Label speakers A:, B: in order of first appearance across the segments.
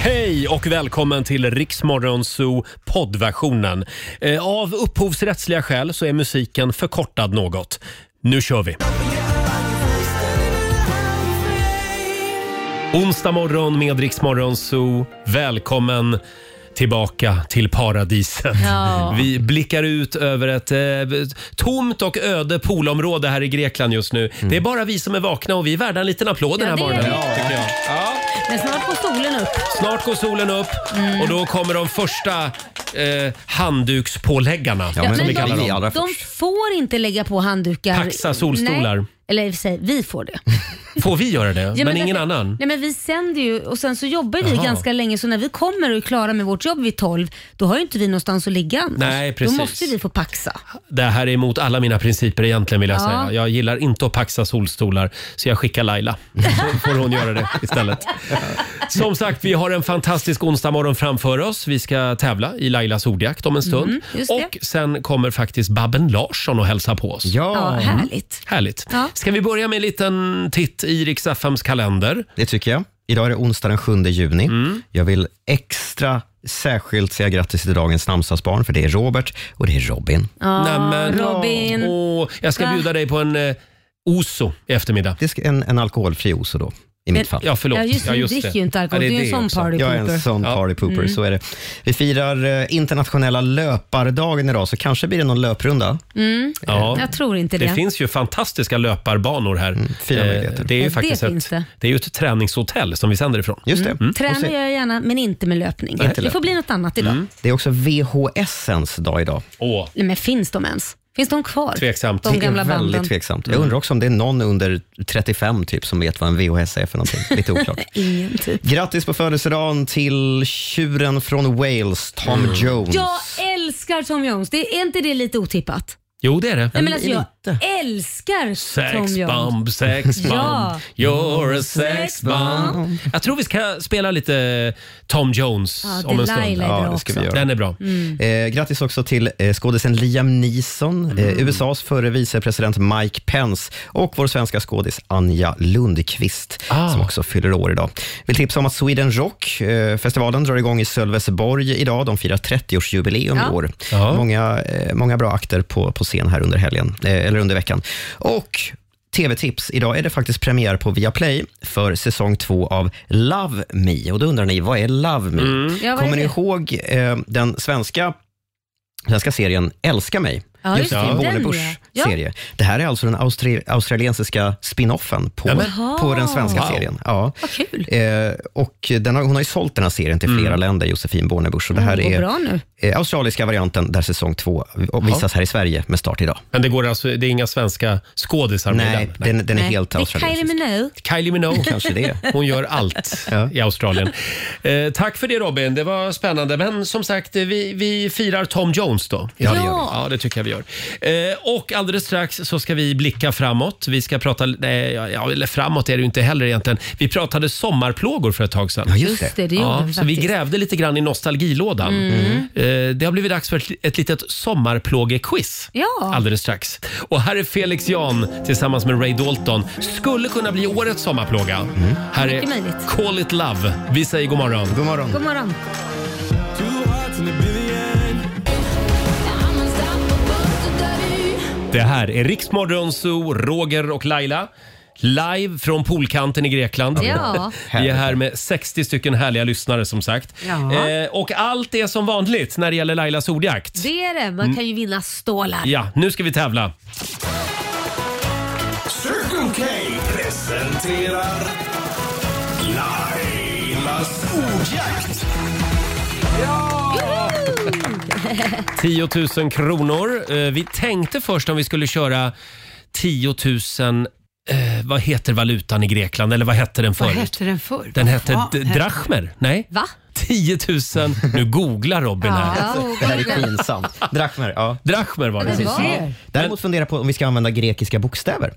A: Hej och välkommen till Riksmorgon Zoo poddversionen. Eh, Av upphovsrättsliga skäl så är musiken förkortad något. Nu kör vi! Onsdag morgon med Riksmorgon Zoo. Välkommen tillbaka till paradiset.
B: Ja.
A: Vi blickar ut över ett eh, tomt och öde poolområde här i Grekland just nu. Det är bara vi som är vakna och vi är värda en liten applåd den här
B: det är
A: morgonen.
B: vi. Mm. Ja,
A: tycker jag.
B: Men snart går solen upp.
A: Snart går solen upp
B: Mm.
A: och då kommer de första eh, handdukspåläggarna.
B: Ja,
A: som
B: men
A: vi
B: de-
A: kallar
B: vi
A: dem.
C: allra
B: De
C: först.
B: får inte lägga på handdukar.
A: Paxa solstolar.
B: Nej. Eller i och för sig, vi får det.
A: Får vi göra det?
B: Ja,
A: men, ingen
B: därför-
A: annan?
B: Nej men vi sänder ju och sen så jobbar vi
A: Jaha.
B: ganska länge så när vi kommer och är klara med vårt jobb vid 12 då har ju inte vi någonstans att ligga annars.
A: Nej, precis.
B: Då måste vi få paxa.
A: Det här är emot alla mina principer egentligen vill jag
B: Ja.
A: säga. Jag gillar inte att paxa solstolar så jag skickar Laila. Så får hon göra det istället. Som sagt, vi har en fantastisk onsdagmorgon framför oss. Vi ska tävla i Lailas ordjakt om en stund.
B: Mm, just det.
A: och sen kommer faktiskt Babben Larsson och hälsa på oss.
B: Ja,
C: Ja,
B: härligt.
A: Härligt.
B: Ja.
A: Ska vi börja med en liten titt i Rix FMs kalender? Mm.
C: det tycker jag. Idag är det onsdag den 7 juni. Jag vill extra särskilt säga grattis till dagens namnsdagsbarn, för det är Robert och det är Robin.
A: Nämen.
B: Robin.
A: Åh, jag ska
B: Va?
A: bjuda dig på en eh, Oso i eftermiddag.
C: Det ska en, en alkoholfri oso då, i mitt fall.
A: Ja, förlåt.
B: Ja just, ja, just dricker ju inte alkohol.
A: Ja,
B: du är ju en sån Mm.
A: också.
B: party
C: Jag är en
B: pooper.
C: sån
A: Ja.
C: party pooper, så är det. Vi firar eh, internationella löpardagen idag, så kanske blir det någon löprunda.
A: Ja.
B: Mm. Jag tror inte det.
A: Det finns ju fantastiska löparbanor här.
C: Mm, fina
A: Eh,
C: möjligheter.
A: det är ju
B: Ja, det
A: faktiskt
B: finns
A: ett, Mm.
B: det.
A: det är ju ett träningshotell som vi sänder ifrån.
C: Just det. Och
B: Tränar
C: så-
B: gör jag gärna men inte med löpning.
C: Inte
B: det får
C: löpning.
B: bli något annat idag.
C: Det är också VHSens dag idag.
A: Mm. Åh,
B: Nej, men finns de ens? Finns de kvar?
A: Tveksamt. Mm.
B: De
C: Det är
B: gamla
C: väldigt
B: banden.
C: tveksamt. Jag undrar också om det är någon under 35 typ som vet vad en VHS är för någonting. Lite oklart.
B: Ingen typ.
C: Grattis på födelsedagen till tjuren från Wales, Tom
A: Mm.
C: Jones.
B: Jag älskar Tom Jones. Det, är inte det lite otippat?
A: Jo, det är det.
B: Nej, men alltså, jag
C: lite.
B: älskar Tom
A: Sex
B: Jones.
A: bomb, sex bomb,
B: Ja.
A: you're a sex bomb Jag tror vi ska spela lite Tom Jones
B: Ja,
A: om en stund.
B: Delilah är bra
C: det ska vi
B: också. Mm.
C: göra.
A: Den är bra.
C: Eh, grattis också till eh, skådisen Liam Neeson,
A: Mm.
C: eh, USAs förre vicepresident Mike Pence och vår svenska skådis Anja Lundqvist
A: Ah.
C: som också fyller år idag. Vill tipsa om att Sweden Rock, eh, festivalen drar igång i Sölvesborg idag. De firar 30-årsjubileum
B: Ja.
C: i år.
A: Ja.
C: Många, eh, många bra akter på, på scen här under helgen, eh, eller under veckan. Och TV-tips. Idag är det faktiskt premiär på Viaplay för säsong två av Love Me. Och då undrar ni, vad är Love Me?
B: Mm. Ja, vad är
C: Kommer ni
B: det?
C: ihåg eh, den svenska, svenska serien Älska mig?
B: Ja, just
C: Josefin
A: det.
B: Den,
C: Bornebuschs
B: ja.
C: serie. Det här är alltså den austri- australiensiska spinoffen på,
A: Jaha.
C: på den svenska
A: Wow.
C: serien. Ja.
B: Vad kul.
C: Eh, och den har, hon har ju sålt den här serien till flera länder, Josefin Bornebusch. Och det här
B: Mm. det går
C: är
B: bra nu.
C: eh, australiska varianten där säsong två visas här i Sverige med start idag.
A: Men det, går alltså, det är inga svenska skådisar med
C: Nej,
A: den. Nej.
C: den, den är
B: Nej,
C: helt
B: det är Kylie
C: australiensisk.
B: Minogue.
A: Kylie Minogue
C: Kanske det.
A: Hon gör allt
C: Ja.
A: i Australien. Eh, tack för det Robin, det var spännande. Men som sagt, eh, vi, vi firar Tom Jones då.
C: Ja, det gör vi.
A: ja, det tycker jag vi gör. Eh, och alldeles strax så ska vi blicka framåt. Vi ska prata, nej, ja, ja, eller framåt är det ju inte heller egentligen. Vi pratade sommarplågor för ett tag sedan.
C: Ja, just
B: Just
C: det.
B: det, det gjorde
A: Ja,
B: vi
A: så vi
B: faktiskt. Mm.
A: grävde lite grann i nostalgilådan. Eh, Det har blivit dags för ett- ett litet sommarplågequiz
B: Ja.
A: alldeles strax. Och här är Felix Jan tillsammans med Ray Dalton. Skulle kunna bli årets sommarplåga. Här är
B: Mycket möjligt.
A: Call It Love. Vi säger god morgon.
C: Mm. God morgon.
B: God morgon.
A: Det här är Riksmorgon Zoo, Roger och Laila. Live från poolkanten i Grekland.
B: Ja.
A: Vi är här med 60 stycken härliga lyssnare som sagt.
B: Ja.
A: Eh, och allt är som vanligt när det gäller Lailas ordjakt.
B: Det är det. Man kan ju vinna stålar.
A: Ja, nu ska vi tävla.
D: Circle K presenterar Lailas ordjakt.
A: 10 000 kronor. Eh, Vi tänkte först om vi skulle köra 10 000 Eh, vad heter valutan i Grekland? Eller vad hette den
E: Vad
A: förut?
E: hette den förr?
A: Den hette
E: Ja,
A: d- drachmer. Nej?
B: Va?
A: 10 000. Nu googlar Robin här.
B: Ja,
C: Det här är pinsamt. Drachmer, ja.
A: Drachmer var det.
B: Precis.
A: Ja,
B: Ja.
C: Däremot fundera på om vi ska använda grekiska bokstäver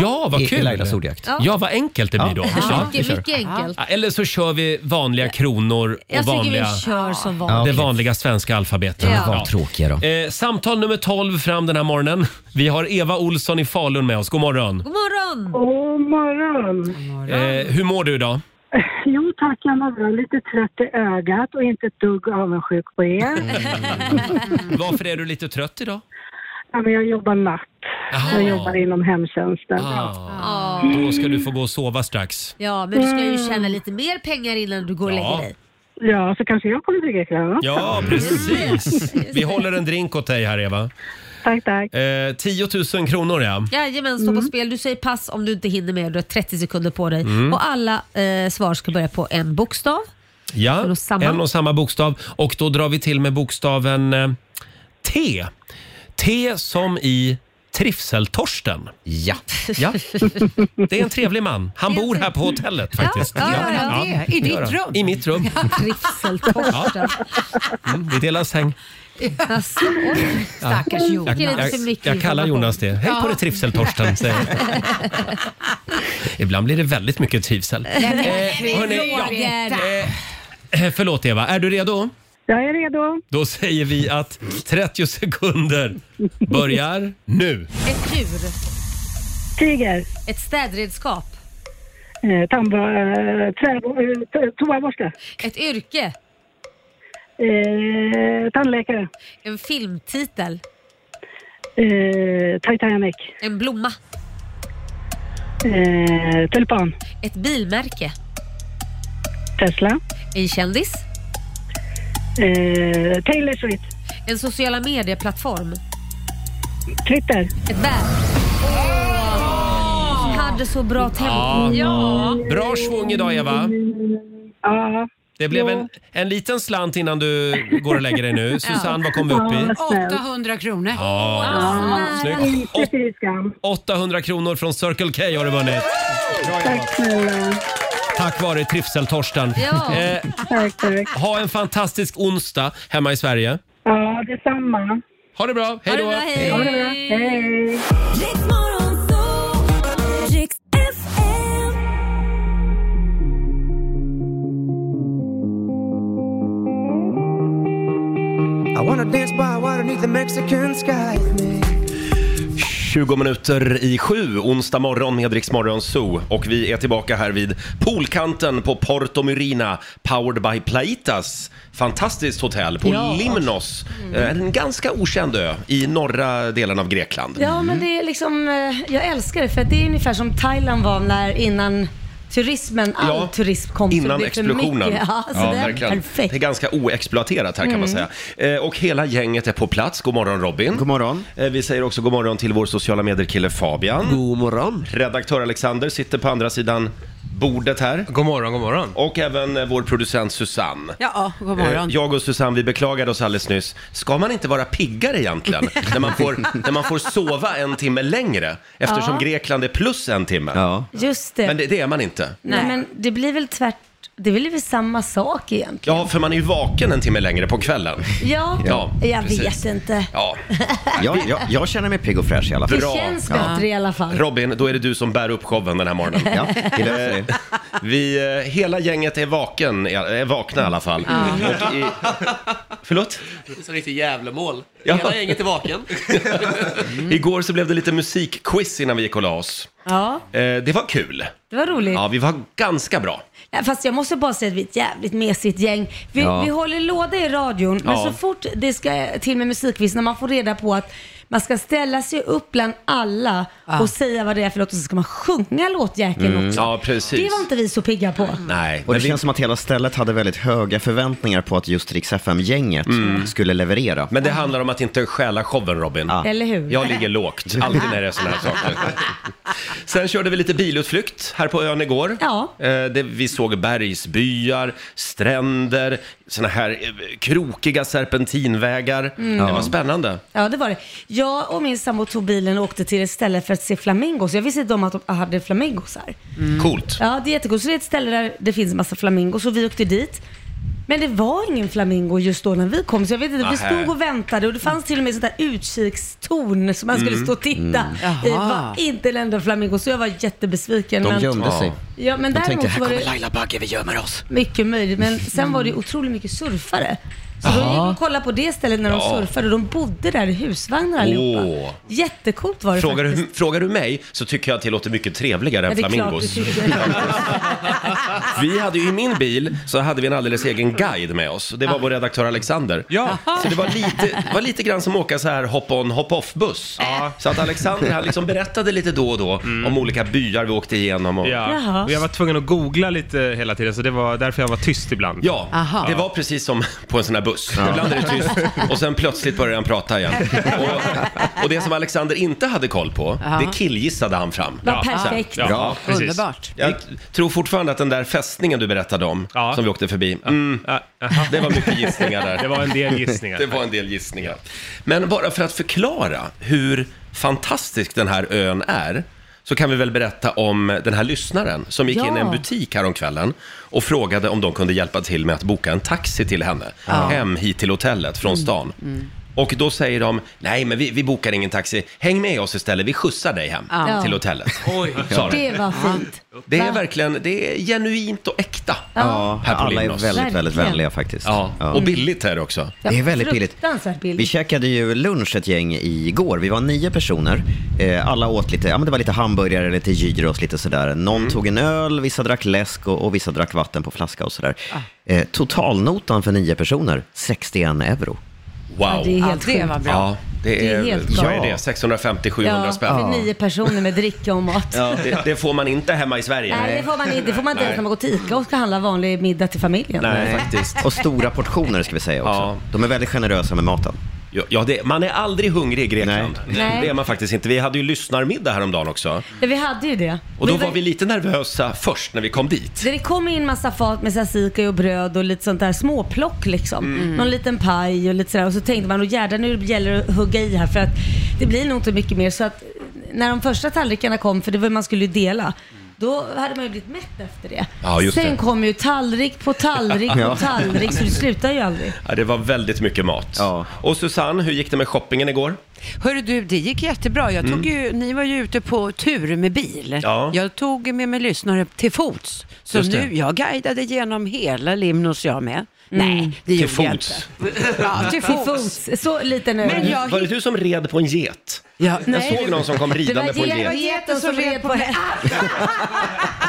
A: ja vad
C: i, i
A: kul.
C: Lailas ordjakt.
B: Ja.
A: Ja, vad enkelt det blir då.
C: Ja.
A: Ja.
B: Ja, mycket, mycket enkelt.
A: Ja, Eller så kör vi vanliga kronor och
B: Jag tycker
A: vanliga,
B: vi kör som
C: Ja.
B: vanligt.
A: det vanliga svenska alfabetet.
B: Ja.
C: Vad tråkiga då.
A: Eh, samtal nummer 12 fram den här morgonen. Vi har Eva Olsson i Falun med oss. God morgon.
B: God morgon!
F: God morgon.
A: Eh, hur mår du idag?
D: Jo tack, jag mår bra. Lite trött i ögat och inte ett dugg avundsjuk på er.
A: Mm. Varför är du lite trött idag?
D: Ja, men jag jobbar natt.
A: Jaha.
D: Jag jobbar inom hemtjänsten.
A: Ah, Då ska du få gå och sova strax.
G: Ja, men du ska ju tjäna lite mer pengar innan du går och
A: Ja.
G: lägger dig.
D: Eh, Ja, så kanske jag kommer dricka ikväll. va?
A: Ja, precis. Vi håller en drink åt dig här, Eva.
D: Tack, tack. Mm.
A: Eh, 10 000 kronor, ja.
G: Jajamän, stå på spel. Du säger pass om du inte hinner med. Du har 30 sekunder på dig.
A: Mm.
G: Och alla eh, svar ska börja på en bokstav.
A: Ja,
G: och samma.
A: en och samma bokstav. Och då drar vi till med bokstaven eh, T. T som i Trivseltorsten.
H: Ja.
A: Ja. Det är en trevlig man. Han bor här på hotellet faktiskt.
G: ja, ja, ja.
F: det? I
A: det
F: ditt
A: gör han.
F: rum?
A: I mitt rum.
G: Trivseltorsten.
A: Mm, vi delar säng.
G: Alltså, oj.
F: Stackars Jonas.
A: Jag,
G: Lite
A: jag,
G: för mycket
A: jag kallar
G: information.
A: Jonas det. Hej på dig Trivseltorsten, säger jag. Ibland blir det väldigt mycket trivsel. Eh, hörni, ja,
G: Roger.
A: eh, förlåt Eva, är du redo?
D: Jag är redo.
A: Då säger vi att 30 sekunder börjar nu.
G: Ett djur,
D: Tiger.
G: ett städredskap,
D: Eh, tandbo- eh, träbo- eh, t- toaborste.
G: ett yrke,
D: Eh, tandläkare.
G: en filmtitel,
D: Eh, Titanic.
G: en blomma,
D: Eh, tulpan.
G: ett bilmärke,
D: Tesla.
G: en kändis,
D: Eh, Taylor Swift.
G: en sociala medieplattform,
D: Twitter.
G: ett bär. Hade så bra tempo.
A: Ja. Bra svung idag Eva.
D: Ja,
A: Det blev en, en liten slant innan du går och lägger dig nu. Susanne, vad kom vi upp i?
D: vad snällt.
F: 800 kronor.
A: Ja, snyggt.
D: Inte fy skam.
A: 800 kronor från Circle K har du vunnit.
D: Tack snälla.
A: Tack vare Trivseltorsten.
G: Ja.
A: Eh,
D: Tack, tack.
A: ha en fantastisk onsdag hemma i Sverige.
D: Ja, detsamma.
A: Ha det bra, hej
G: Ha det
A: då!
G: bra, hej.
D: Ha det bra. Hej.
I: I wanna dance by water beneath the Mexican sky with me.
A: 20 minuter i sju, onsdag morgon med Rix Morgon Zoo. Och vi är tillbaka här vid poolkanten på Porto Murina, powered by Plaitas. Fantastiskt hotell på Limnos, Eh, en ganska okänd ö i norra delen av Grekland.
B: Ja, men det är liksom, eh, jag älskar det för att det är ungefär som Thailand var när innan turismen, all
A: Ja,
B: turism kom. så det
A: Innan
B: blev för
A: explosionen.
B: mycket. Ja, så det är perfekt. Mm.
A: Det är ganska oexploaterat här kan man säga. Eh, och hela gänget är på plats. God morgon Robin.
E: God morgon.
A: Eh, vi säger också god morgon till vår sociala medier-kille Fabian.
E: God morgon.
A: Redaktör Alexander sitter på andra sidan bordet här.
J: God morgon, god morgon.
A: Och även eh, vår producent Susanne.
F: Ja, god
A: Eh,
F: morgon.
A: Jag och Susanne, vi beklagade oss alldeles nyss. Ska man inte vara piggare egentligen? när, man får, när man får sova en timme längre? Eftersom Grekland är plus en timme.
E: Ja.
B: Just det.
A: Men det, det är man inte.
B: Nej, men det blir väl tvärt, det blir väl samma sak egentligen.
A: Ja, för man är ju vaken en timme längre på kvällen.
B: Ja,
A: Ja,
B: jag
A: precis.
B: vet inte.
A: Ja,
H: Jag, jag, jag känner mig pigg och fräsch i alla fall.
B: Det
A: Bra.
B: känns
A: Ja.
B: bättre i alla fall.
A: Robin, då är det du som bär upp showen den här morgonen.
H: Ja, det löser vi.
A: Vi, eh, hela gänget är, vaken, är vakna i alla fall. Och i, förlåt?
J: Det är så riktigt jävla mål.
A: Ja.
J: Hela gänget är vaken.
A: Igår så blev det lite musikquiz innan vi gick och la oss.
B: Ja,
A: Eh, det var kul.
B: det var roligt.
A: Ja, vi var ganska bra.
B: Ja, Fast jag måste bara säga att vi är ett jävligt mesigt gäng. Vi,
E: Ja.
B: vi håller låda i radion, men
A: Ja.
B: så fort det ska till med musikquiz, när man får reda på att man ska ställa sig upp bland alla och säga vad det är för låt och så ska man sjunga låtjäkeln också.
A: Ja, precis.
B: Det var inte vi så pigga på.
A: Mm. Nej,
H: Och
A: men
H: det
A: vi,
H: känns som att hela stället hade väldigt höga förväntningar på att just Rix FM-gänget skulle leverera.
A: Mm. men det handlar om att inte stjäla showen, Robin.
H: Ja.
B: Eller hur?
A: Jag ligger lågt, alltid när det är såna här saker. Sen körde vi lite bilutflykt här på ön igår.
B: Ja.
A: Eh, det, vi såg bergsbyar, stränder, såna här eh, krokiga serpentinvägar. Det var spännande.
B: Mm. Ja, det var det. Jag och min sambo tog bilen och åkte till ett ställe för att se flamingos. Jag visste inte om att de hade flamingos här.
A: Mm. Coolt.
B: Ja, det är jättegott. Så det är ett ställe där det finns en massa flamingos och vi åkte dit. Men det var ingen flamingo just då när vi kom, så jag vet inte. Vi
A: Nähä.
B: stod och väntade och det fanns till och med sånt där utkikstorn som man skulle stå och titta i. Det var inte en enda flamingo, så jag var jättebesviken.
H: De
B: men,
H: gömde sig.
B: ja, men däremot
H: tänkte,
B: var det
J: Laila Bagge, vi gömmer oss.
B: mycket möjligt. Men sen var det ju otroligt mycket surfare. Så då gick vi och kollade på det stället när de
A: Ja.
B: surfade och de bodde där i husvagnar allihopa.
A: Åh.
B: Jättecoolt var det
A: Frågar
B: faktiskt.
A: du, frågar du mig så tycker jag att det låter mycket trevligare än
B: Ja, det är klart du
A: flamingos.
B: tycker.
A: Vi hade ju i min bil så hade vi en alldeles egen guide med oss. Det var vår redaktör Alexander.
F: Ja.
A: Så det var lite, var lite grann som att åka så här hop-on hop-off-buss.
F: Ja. Mm.
A: Så att Alexander han liksom berättade lite då och då om olika byar vi åkte igenom. Och...
F: Ja.
B: Jaha.
F: Och jag var tvungen att googla lite hela tiden så det var därför jag var tyst ibland.
A: Ja,
E: Aha.
A: det var precis som på en sån här buss. Ibland är det tyst och sen plötsligt börjar han prata igen. Och, och det som Alexander inte hade koll på,
E: Ja.
A: det killgissade han fram.
G: Vad perfekt.
F: Ja,
A: Ja,
F: precis.
E: Underbart.
A: Jag tror fortfarande att den där fästningen du berättade om,
F: Ja.
A: som vi åkte förbi, mm,
F: Ja, aha.
A: det var mycket gissningar där.
F: Det var en del gissningar.
A: Det var en del gissningar. Men bara för att förklara hur fantastisk den här ön är så kan vi väl berätta om den här lyssnaren som gick
G: Ja.
A: in i en butik häromkvällen och frågade om de kunde hjälpa till med att boka en taxi till henne hem hit till hotellet från
D: Mm.
A: stan.
B: Mm.
A: Och då säger de, nej men vi, vi bokar ingen taxi, häng med oss istället, vi skjutsar dig hem
G: Ja.
A: till hotellet.
J: Oj.
A: Sa de.
G: Det var fint.
A: Det är
G: Va?
A: verkligen, det är genuint och äkta.
E: Ja,
A: Här på
H: alla är
A: Limnos.
H: väldigt, väldigt
G: Verkligen.
H: vänliga faktiskt.
A: Ja. Och billigt är det också.
H: Det är väldigt billigt.
B: Fruktansvärt
H: Vi
B: billigt.
H: käkade ju lunch ett gäng igår. Vi var nio personer. Eh, Alla åt lite, ja men det var lite hamburgare, lite gyros, lite sådär. Någon
A: Mm.
H: tog en öl, vissa drack läsk och, och vissa drack vatten på flaska och sådär.
A: Ah.
H: Eh, Totalnotan för nio personer, 61 euro.
A: Wow.
G: Ja, det är
E: Ja,
G: helt
E: det
G: sjukt.
E: var bra.
A: Ja, det
G: Det
A: är,
G: är helt
A: vad är
H: galet.
A: det? 650-700
B: Ja,
A: spänn?
B: för nio personer med dricka och mat.
A: Ja, det, det får man inte hemma i Sverige.
B: Nej, det får man inte. Det får man inte ens när man går till ICA och ska handla vanlig middag till familjen.
A: Nej, faktiskt.
H: Eh, Och stora portioner ska vi säga också.
A: Ja.
H: De är väldigt generösa med maten.
A: Ja, Ja, det, man är aldrig hungrig i Grekland.
H: Nej.
B: Nej.
A: Det är man faktiskt inte. Vi hade ju lyssnarmiddag häromdagen också.
B: Ja, vi hade ju det.
A: Och då
B: Men
A: var
B: det-
A: vi lite nervösa först när vi kom dit.
B: Det kom in massa fat med tzatziki och bröd och lite sånt där småplock liksom.
A: Mm.
B: Någon liten paj och lite sådär. Och så tänkte man, "Åh, jädrar nu gäller det att hugga i här för att det blir nog inte mycket mer. Så att eh, när de första tallrikarna kom, för det var man skulle ju dela, då hade man ju blivit mätt efter det.
A: Ja, just
B: Sen
A: det.
B: kom ju tallrik på tallrik på tallrik, så det slutar ju aldrig.
A: Ja, det var väldigt mycket mat.
H: Ja.
A: Och Susanne, hur gick det med shoppingen igår?
E: Hörru du, det gick jättebra. Jag tog ju, ni var ju ute på tur med bil.
A: Mm. Ja.
E: Jag tog med mig lyssnare till fots. Så
A: Just det. Mm.
E: nu, jag guidade genom hela Limnos jag med. Nej, det
A: Till
E: gjorde jag
A: fots.
E: inte. Ja, till
B: Till
E: fots.
B: fots, så liten ö.
E: Men jag,
A: Var det du som red på en get?
E: ja,
A: Jag
E: nej,
A: såg någon som kom
B: Det
A: ridande på
B: var
A: en
B: ge-
A: get.
B: geten som red på hästen.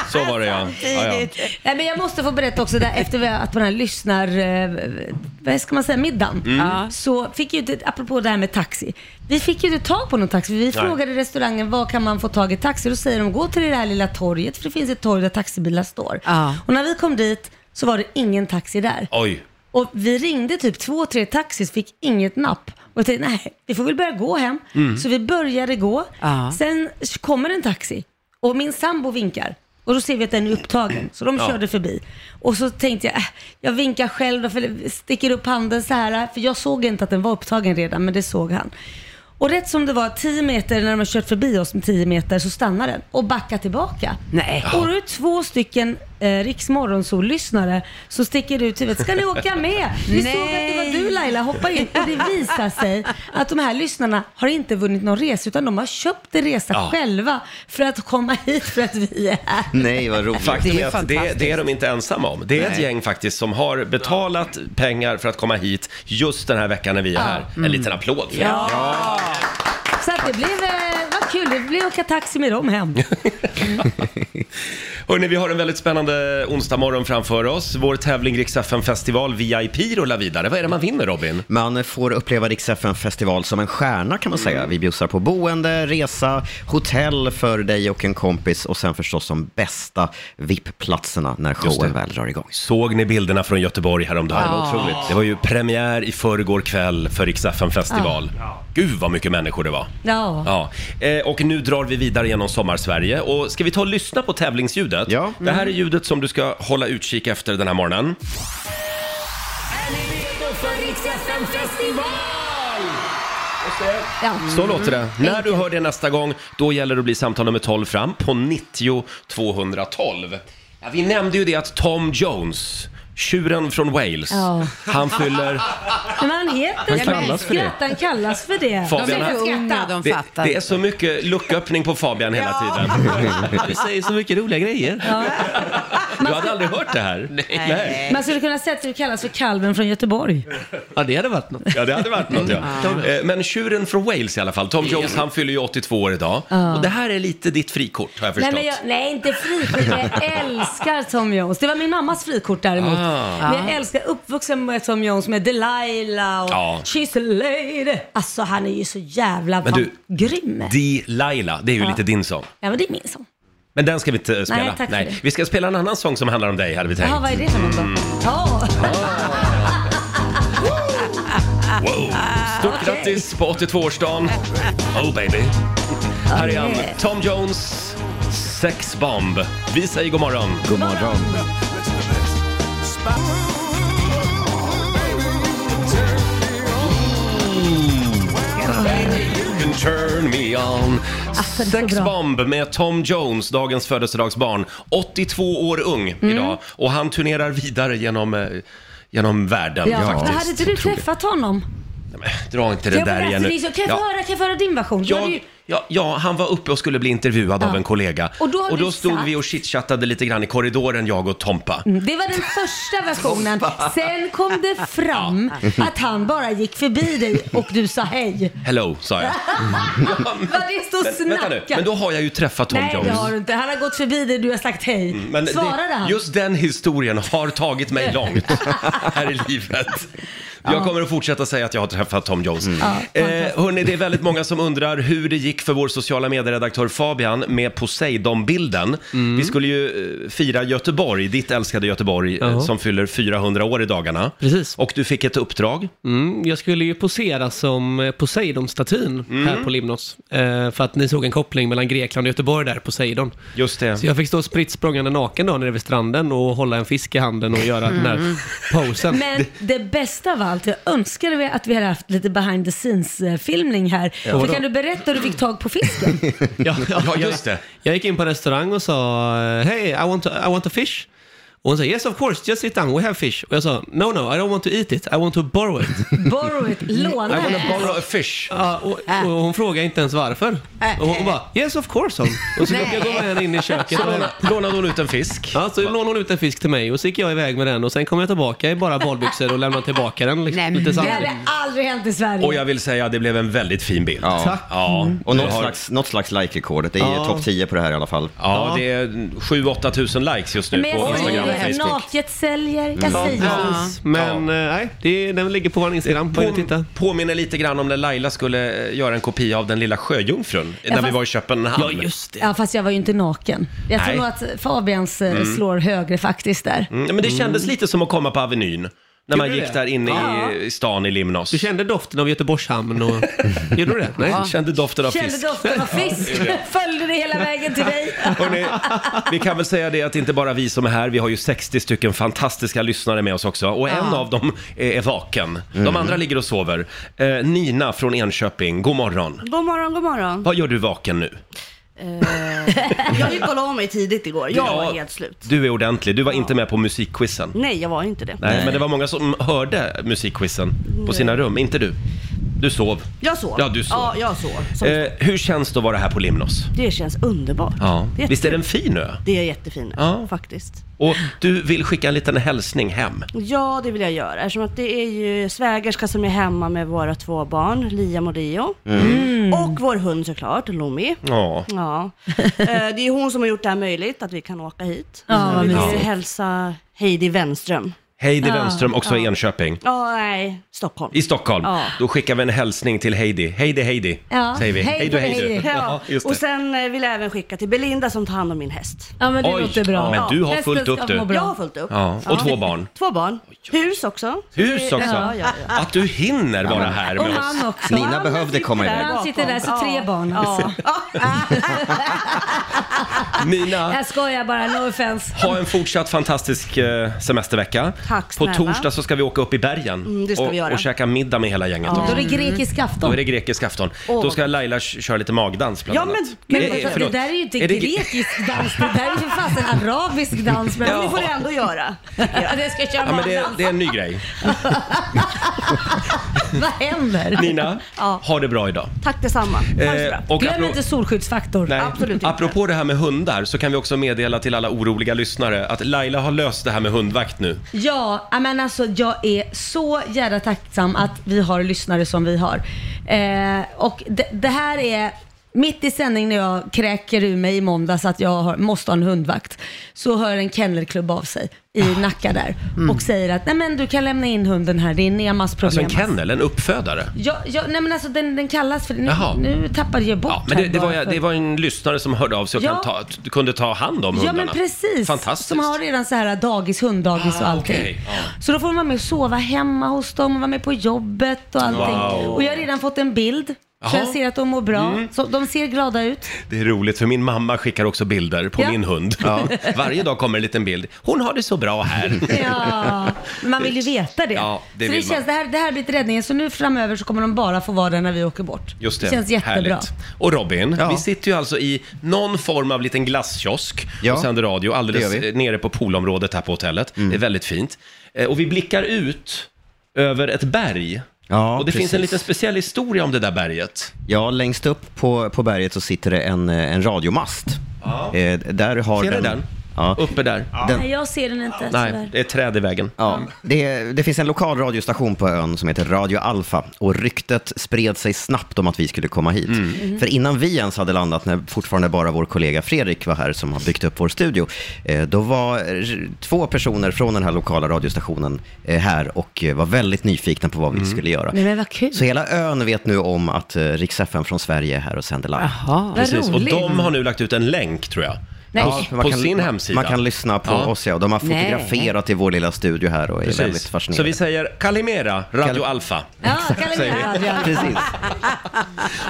A: Så var det ja. ja, ja.
B: Nej, men jag måste få berätta också där efter vi- att på den här lyssnar... eh, Vad ska man säga? Middagen.
A: Mm.
B: Så fick ju inte, apropå det här med taxi. Vi fick ju inte tag på någon taxi. Vi frågade restaurangen var kan man få tag i taxi? Då säger de gå till det här lilla torget för det finns ett torg där taxibilar står.
E: Ja.
B: Och när vi kom dit så var det ingen taxi där.
A: Oj.
B: Och vi ringde typ två, tre taxis, fick inget napp. Och jag tänkte, nej, vi får väl börja gå hem. Så vi började gå.
E: Mm. Ja.
B: Sen kommer en taxi och min sambo vinkar. Och då ser vi att den är upptagen, så de körde förbi. Och så tänkte jag, äh, jag vinkar själv då, för sticker upp handen så här. För jag såg inte att den var upptagen redan, men det såg han. Och rätt som det var, 10 meter, när de har kört förbi oss med 10 meter, så stannar den och backar tillbaka.
E: Nej.
B: Och då är det två stycken eh, Riks lyssnare som sticker ut huvudet. Ska ni åka med? Vi såg att det var du Laila, hoppa in. Och det visar sig att de här lyssnarna har inte vunnit någon resa utan de har köpt en resa
A: Ja.
B: själva för att komma hit för att vi är här.
H: Nej, vad roligt.
A: Faktum
E: Det
A: är
E: är
A: att det,
E: fantastiskt.
A: det är de inte ensamma om. Det är ett
H: Nej.
A: gäng faktiskt som har betalat pengar för att komma hit just den här veckan när vi är här. En liten applåd för det.
B: Så att det blev, eh, vad kul, det blev åka taxi med dem hem.
A: Hörrni, vi har en väldigt spännande onsdagmorgon framför oss. Vår tävling Rix FM festival VIP rullar vidare. Vad är det man vinner Robin?
H: Man får uppleva Rix FM festival som en stjärna kan man säga. Vi bjussar på boende, resa, hotell för dig och en kompis och sen förstås de bästa VIP-platserna när
A: det.
H: showen väl drar igång.
A: Såg ni bilderna från Göteborg häromdagen? Det var otroligt. Det var ju premiär i förrgår kväll för Rix FM festival. Gud vad mycket människor det var.
B: Ja.
A: Ja, eh, och nu drar vi vidare genom sommarsverige. Och ska vi ta och lyssna på tävlingsljudet?
H: Ja.
A: Det här är ljudet som du ska hålla utkik efter den här morgonen.
B: Ja.
A: Så låter det. När du hör det nästa gång, då gäller det att bli samtal nummer 12 fram på 90 212. Ja, vi nämnde ju det att Tom Jones, tjuren från Wales,
B: Ja.
A: han fyller...
B: Men han heter
A: Han kallas för det.
B: Skratt, Han kallas för det.
A: Fabian,
E: de är
A: han-
E: för unga, de
A: Det,
E: fattar.
A: det är så mycket lucköppning på Fabian hela tiden.
J: Du säger så mycket roliga grejer.
B: Man
A: Du hade aldrig hört det här? Nej.
B: Man skulle kunna säga att du kallas för kalven från Göteborg.
A: Ja, det hade varit något. Ja, det hade varit något, ja.
B: Mm.
A: Eh, Men tjuren från Wales i alla fall. Tom Jones, han fyller ju 82 år idag.
B: Ja.
A: Och det här är lite ditt frikort, har jag förstått.
B: Nej, men jag, nej, inte frikort. men Jag älskar Tom Jones. Det var min mammas frikort däremot.
A: Ah.
B: Men jag älskar uppvuxen med Tom Jones med Delilah och
A: Ja.
B: She's a lady. Alltså han är ju så jävla
A: Men
B: fan,
A: du-
B: grym.
A: Delilah, det är ju
B: Ja.
A: lite din sång.
B: Ja men det är min sång.
A: Men den ska vi inte eh, spela.
B: Nej, tack för det.
A: Vi ska spela en annan sång som handlar om dig, hade vi tänkt.
B: Jaha, vad är det för något då?
A: Mm.
B: Ja.
A: Wow. Stort
B: Ah, Okej.
A: grattis på 82-årsdagen. Oh baby. Här är han, Tom Jones, Sex Bomb. Vi säger god morgon. God morgon. Turn me on.
B: Alltså,
A: Sex Bomb med Tom Jones, dagens födelsedagsbarn. 82 år ung
B: Mm.
A: idag och han turnerar vidare genom, eh, genom världen
B: Ja,
A: faktiskt.
B: men hade inte du träffat honom?
A: Dra inte det
B: jag
A: där
B: berättar
A: igen nu.
B: alltså, det, så Kan jag få
A: Ja.
B: höra, kan jag få höra din version? Du
A: Jag-
B: hade ju,
A: Ja, ja, han var uppe och skulle bli intervjuad av en kollega.
B: Och då har du
A: stod
B: sagt-
A: vi och chitchattade lite grann i korridoren, jag och Tompa.
B: Mm, det var den första versionen. Sen kom det fram
A: Ja. Mm.
B: att han bara gick förbi dig och du sa hej.
A: Hello, sa jag.
B: Vad det står
A: Men, vänta nu,
B: snacka.
A: men då har jag ju träffat Tom
B: Nej,
A: Jones.
B: det har du inte. Han har gått förbi dig, du har sagt hej.
A: Mm, Men det-
B: Svarade han?
A: Just den historien har tagit mig långt här i livet. Jag
B: Ja.
A: kommer att fortsätta säga att jag har träffat Tom Jones.
B: Ja,
A: eh, hörni, det är väldigt många som undrar hur det gick för vår sociala medieredaktör Fabian med Poseidon-bilden.
J: Mm.
A: Vi skulle ju eh, fira Göteborg, ditt älskade Göteborg, eh,
J: Ja.
A: som fyller 400 år i dagarna.
J: Precis.
A: Och du fick ett uppdrag.
J: Mm, jag skulle ju posera som eh, Poseidon-statyn här på Limnos. Eh, för att ni såg en koppling mellan Grekland och Göteborg där, Poseidon.
A: Just det.
J: Så jag fick stå spritt språngande naken då nere vid stranden och hålla en fisk i handen och göra den här
B: Mm.
J: posen.
B: Men det bästa av allt, jag önskade vi att vi hade haft lite behind the scenes-filmning här.
J: Ja.
B: För kan du berätta hur du fick tag på fisken?
J: ja,
A: ja, just det.
J: Jag gick in på en restaurang och sa “Hey, I want, I want a fish”. Och hon sa “Yes, of course, just sit down, we have fish”. Och jag sa “No, no, I don't want to eat it, I want to borrow it”.
B: Borrow it, Äh. låna
J: I wanna
B: det.
A: borrow a fish.
J: Ja, och, och hon frågade inte ens varför.
B: Äh.
J: Och hon bara “Yes, of course”, hon. Och så jag gå med henne in i köket.
A: Så låna- lånade hon ut en fisk?
J: Ja, så lånade hon ut en fisk till mig och så gick jag iväg med den och sen kom jag tillbaka i bara badbyxor och lämnade tillbaka den. Liksom, lite
B: Det
J: samtidigt.
B: hade aldrig hänt i Sverige.
A: Och jag vill säga, det blev en väldigt fin bild. Ja.
J: Tack. Mm.
A: Och
K: något slags-
A: något slags like-rekord.
K: Det är ju Ja. topp
A: 10 på det här i alla fall. Ja,
K: Ja.
A: det är 7-8 tusen likes just nu
B: Men
A: på
B: jag
A: Instagram och
B: säger det,
A: Facebook. Mm.
B: naket säljer. Jag
A: Ja,
B: säger
A: precis.
J: Men eh, nej, det, den ligger på vår Instagram. På, titta.
A: Påminner lite grann om när Laila skulle eh, göra en kopia av Den lilla sjöjungfrun eh, när
B: Ja,
A: vi
B: fast-
A: var i Köpenhamn.
J: Ja, just
B: Ja, fast jag var ju inte naken. Jag tror
A: Nej.
B: nog att Fabians eh,
A: Mm.
B: slår högre faktiskt där.
A: Mm, men det kändes lite som att komma på Avenyn. När man
J: Gjorde
A: gick
J: det?
A: där inne
J: Ja.
A: i, i stan i Limnos.
J: Du kände doften av Göteborgshamn och... Gjorde du det? Nej.
A: Ja. Kände doften av
B: Mm. Kände
A: fisk.
B: doften av fisk.
A: Ja, det är det.
B: Följde det hela vägen till dig.
A: Hörrni, vi kan väl säga det att inte bara vi som är här, vi har ju 60 stycken fantastiska lyssnare med oss också. Och en
B: Ja.
A: av dem är vaken. De andra ligger och sover. Eh, Nina från Enköping, god morgon.
L: God morgon, god morgon.
A: Vad gör du vaken nu?
L: Eh, jag gick och la mig tidigt igår. Jag
A: Ja.
L: var helt slut.
A: Du är ordentlig, du var inte med på musikquizen.
L: Nej, jag var inte det.
A: Nej, men det var många som hörde musikquizen på sina rum, inte du. Du sov.
L: Jag sov.
A: Ja, du sov.
L: Ja, jag sov. Som...
A: Eh, hur känns det att vara här på Limnos?
L: Det känns underbart.
A: Ja.
L: Det är
A: Visst är
L: jätte-
A: den fin ö?
L: Det är jättefint
A: Ja.
L: faktiskt.
A: Och du vill skicka en liten hälsning hem.
L: Ja, det vill jag göra. Eftersom att det är ju svägerska som är hemma med våra två barn, Liam och Dio.
A: Mm.
L: Och vår hund såklart, Lomi.
A: Ja.
L: Ja. Eh, Det är hon som har gjort det här möjligt, att vi kan åka hit.
A: Ja, vad
L: vi vill ju
A: mysigt.
L: hälsa Heidi Wenström.
A: Heidi
L: Ja.
A: Wenström, också i
L: Ja.
A: Enköping.
L: Ja, nej, Stockholm.
A: I Stockholm.
L: Ja.
A: Då skickar vi en hälsning till Heidi. Heidi, Heidi,
L: Ja.
A: säger vi. Hej du, hej du.
L: Ja.
A: just
L: Och
A: det.
L: sen eh, vill jag även skicka till Belinda som tar hand om min häst.
B: Ja,
A: men det Oj, låter bra. ja, men du har fullt upp, du.
L: Jag har fullt upp.
A: Ja, och två barn.
L: Två barn. Hus också.
A: Hus också.
L: Ja, ja, ja.
A: Att du hinner vara
L: men-
A: här
L: och
A: med oss.
L: han också. Nina Han behövde sitter komma där iväg.
B: Han sitter där, så tre barn. Ja.
A: Mina,
B: Jag skojar bara, no offense.
A: ha en fortsatt fantastisk eh, semestervecka.
B: Tack
A: På
B: snälla.
A: torsdag så ska vi åka upp i bergen
B: Mm, det ska
A: och,
B: vi göra.
A: och käka middag med hela gänget.
B: Då
A: också.
B: är det grekisk
A: Då är
B: afton.
A: det grekisk afton.
B: Åh.
A: Då ska Laila k- köra lite magdans bland
B: Ja,
A: annat.
B: men- men
A: Eh,
B: vad- det
A: förlåt.
B: där är ju inte
A: Är det-
B: grekisk dans, det där är ju för fasen arabisk dans. Men
A: Ja.
B: det får du ändå göra. Ja, det ska jag köra
A: Ja, men det,
B: magdans.
A: det är en ny grej.
B: Vad händer?
A: Nina,
B: Ja.
A: ha det bra idag.
L: Tack detsamma. Ha det så
A: Eh,
L: bra.
A: och Glöm apro- inte
B: solskyddsfaktor.
A: Nej. Apropå det här med hundar så kan vi också meddela till alla oroliga lyssnare att Laila har löst det här med hundvakt nu.
B: Ja, men alltså jag är så jävla tacksam att vi har lyssnare som vi har. Eh, och det, det här är mitt i sändning när jag kräker ur mig i måndags att jag har, måste ha en hundvakt. Så hör en kennelklubb av sig i
A: Ah.
B: Nacka där och säger att nej men du kan lämna in hunden här, det är Nemas problem.
A: Mm. Alltså en kennel, en uppfödare.
B: Ja, ja, nej men alltså den, den kallas för Nu,
A: Jaha.
B: nu tappade jag bort
A: Men det,
B: här
A: det,
B: bara
A: var,
B: för-
A: det var en lyssnare som hörde av sig och
B: Ja.
A: kan ta, t- kunde ta hand om
B: Ja
A: hundarna.
B: men precis.
A: Fantastiskt.
B: Som har redan så här dagis, hunddagis och allting.
A: Ah, okej.
B: Så då får man vara med och sova hemma hos dem, vara med på jobbet och allting.
A: Wow.
B: Och jag har redan fått en bild. Så
A: Jaha.
B: jag ser att de mår bra.
A: Mm.
B: Så de ser glada ut.
A: Det är roligt för min mamma skickar också bilder på
B: Ja.
A: min hund.
B: Ja.
A: Varje dag kommer en liten bild. Hon har det så bra här.
B: Ja, men man vill ju veta det.
A: Ja, det
B: så det,
A: vill man.
B: känns, det, här, det här blir till räddningen. Så nu framöver så kommer de bara få vara där när vi åker bort.
A: Just det.
B: känns jättebra.
A: Härligt. Och Robin,
B: Ja.
A: vi sitter ju alltså i någon form av liten glasskiosk
H: Ja,
A: och sänder radio alldeles eh,
H: det gör vi. Mm.
A: nere på poolområdet här på hotellet. Det är väldigt fint. Eh, Och vi blickar ut över ett berg.
H: Ja,
A: och det finns en
H: precis.
A: liten speciell historia om det där berget.
H: Ja, längst upp på, på berget så sitter det en, eh, en radiomast. Eh, där har
A: Ser ni
H: den,
A: den?
H: Ja.
A: Uppe där.
H: Den,
B: Nej, jag ser den inte.
A: Nej,
B: tyvärr.
A: det är ett träd i vägen.
H: Ja, det, det finns en lokal radiostation på ön som heter Radio Alfa och ryktet spred sig snabbt om att vi skulle komma hit.
A: Mm.
K: Mhm.
H: För innan vi ens hade landat, när fortfarande bara vår kollega Fredrik var här som har byggt upp vår studio, eh, då var r- två personer från den här lokala radiostationen eh, här och eh, var väldigt nyfikna på
A: Mm.
H: vad vi skulle göra.
B: Nej, men vad kul.
H: Så hela ön vet nu om att eh, Rix FM från Sverige är här och sänder live.
B: Vad Precis, och roligt. de har
A: nu lagt ut en länk tror jag.
B: Nej.
A: På sin hemsida.
H: Man kan lyssna på
A: Ja.
H: oss ja, de har
A: Nej.
H: fotograferat i vår lilla studio här och är väldigt fascinerade.
A: Så vi säger Kalimera, Radio Alfa.
B: Ja,
A: Säger vi.
B: Kalimera Radio Alfa.
H: Precis.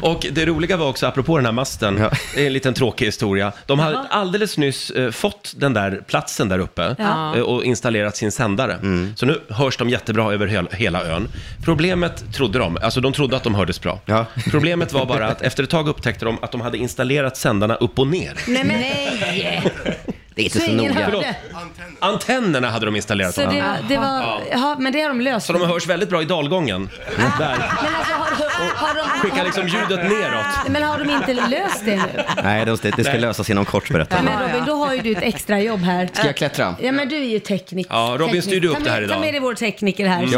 A: Och det roliga var också, apropå den här masten, det är en liten tråkig historia. De hade
F: Jaha.
A: alldeles nyss eh, fått den där platsen där uppe
F: Ja.
A: eh, och installerat sin sändare. Så nu hörs de jättebra över hel, hela ön. Problemet trodde de, alltså de trodde att de hördes bra. Problemet var bara att efter ett tag upptäckte de att de hade installerat sändarna upp och ner.
B: Nej, men... Nej.
A: Det är
B: inte Så så ingen noga. hörde?
A: Förlåt. Antennerna hade de installerat.
B: Så det,
A: Ja.
B: det
A: Ja.
B: var, ja, men det har de löst.
A: Så de hörs väldigt bra i dalgången. Där.
B: Men alltså har, har, har de...
A: Skickar liksom ljudet neråt.
B: Men har de inte löst det nu?
H: Nej, det, det ska
A: Nej.
H: lösas inom kort berättar
B: Ja,
H: jag.
B: men Robin, då har ju du ett extra jobb här.
H: Ska jag klättra?
B: Ja, men du är ju tekniker.
A: Ja, Robin styrde upp
B: ta med,
A: det här idag.
B: Ta med dig vår tekniker här.
A: Mm.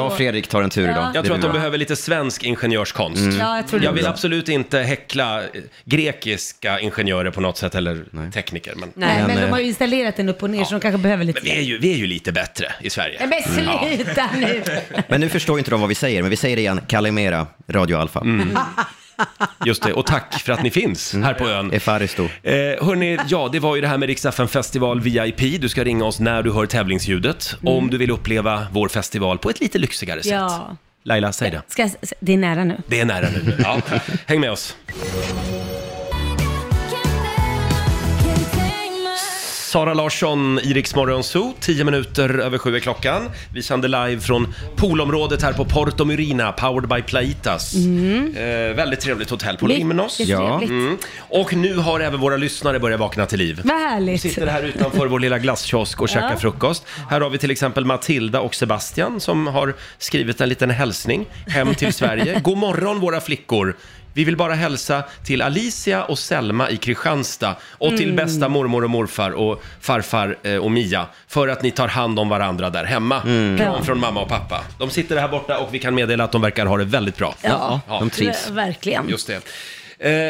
B: så-
H: tar en tur
B: idag. Ja.
A: Jag tror
B: Det
A: att
B: blir
A: de
B: bra.
A: behöver lite svensk ingenjörskonst.
B: Mm. Ja, jag tror det
A: jag
B: blir
A: vill
B: bra.
A: absolut inte häckla eh, grekiska ingenjörer på något sätt, eller tekniker. Men,
B: Nej, men, de har ju
A: eh,
B: installerat den upp och ner så de kanske behöver lite...
A: men vi, är ju, vi är ju lite bättre i Sverige.
B: Nej, Men
H: Mm. Ja.
B: sluta nu!
H: Men nu förstår inte de vad vi säger, men vi säger det igen. Kalimera, Radio Alfa.
A: Mm, Just det, och tack för att ni finns här på ön.
H: Efaristo.
A: Eh, hörni, ja det var ju det här med Riksdagen festival VIP. Du ska ringa oss när du hör tävlingsljudet
B: Mm.
A: om du vill uppleva vår festival på ett lite lyxigare sätt.
B: Ja.
A: Laila, säg det.
B: Ska jag, s- det är nära nu.
A: Det är nära nu. Ja. Häng med oss. Sara Larsson, Iriks Zoo, 10 minuter över sju är klockan. Vi sänder live från poolområdet här på Porto Murina, powered by Plaitas. Eh, väldigt trevligt hotell på
B: Mm. Mycket
A: Limnos.
B: Ja. trevligt.
A: Och nu har även våra lyssnare börjat vakna till liv.
B: Vad härligt.
A: Sitter här utanför vår lilla glasskiosk och käkar
B: Ja.
A: frukost. Här har vi till exempel Matilda och Sebastian som har skrivit en liten hälsning hem till Sverige. God morgon våra flickor! Vi vill bara hälsa till Alicia och Selma i Kristianstad och till
F: Mm.
A: bästa mormor och morfar och farfar eh, och Mia för att ni tar hand om varandra där hemma.
B: Mm. Ja.
A: Kram från mamma och pappa. De sitter här borta och vi kan meddela att de verkar ha det väldigt bra.
B: ver- Verkligen.
A: Just det.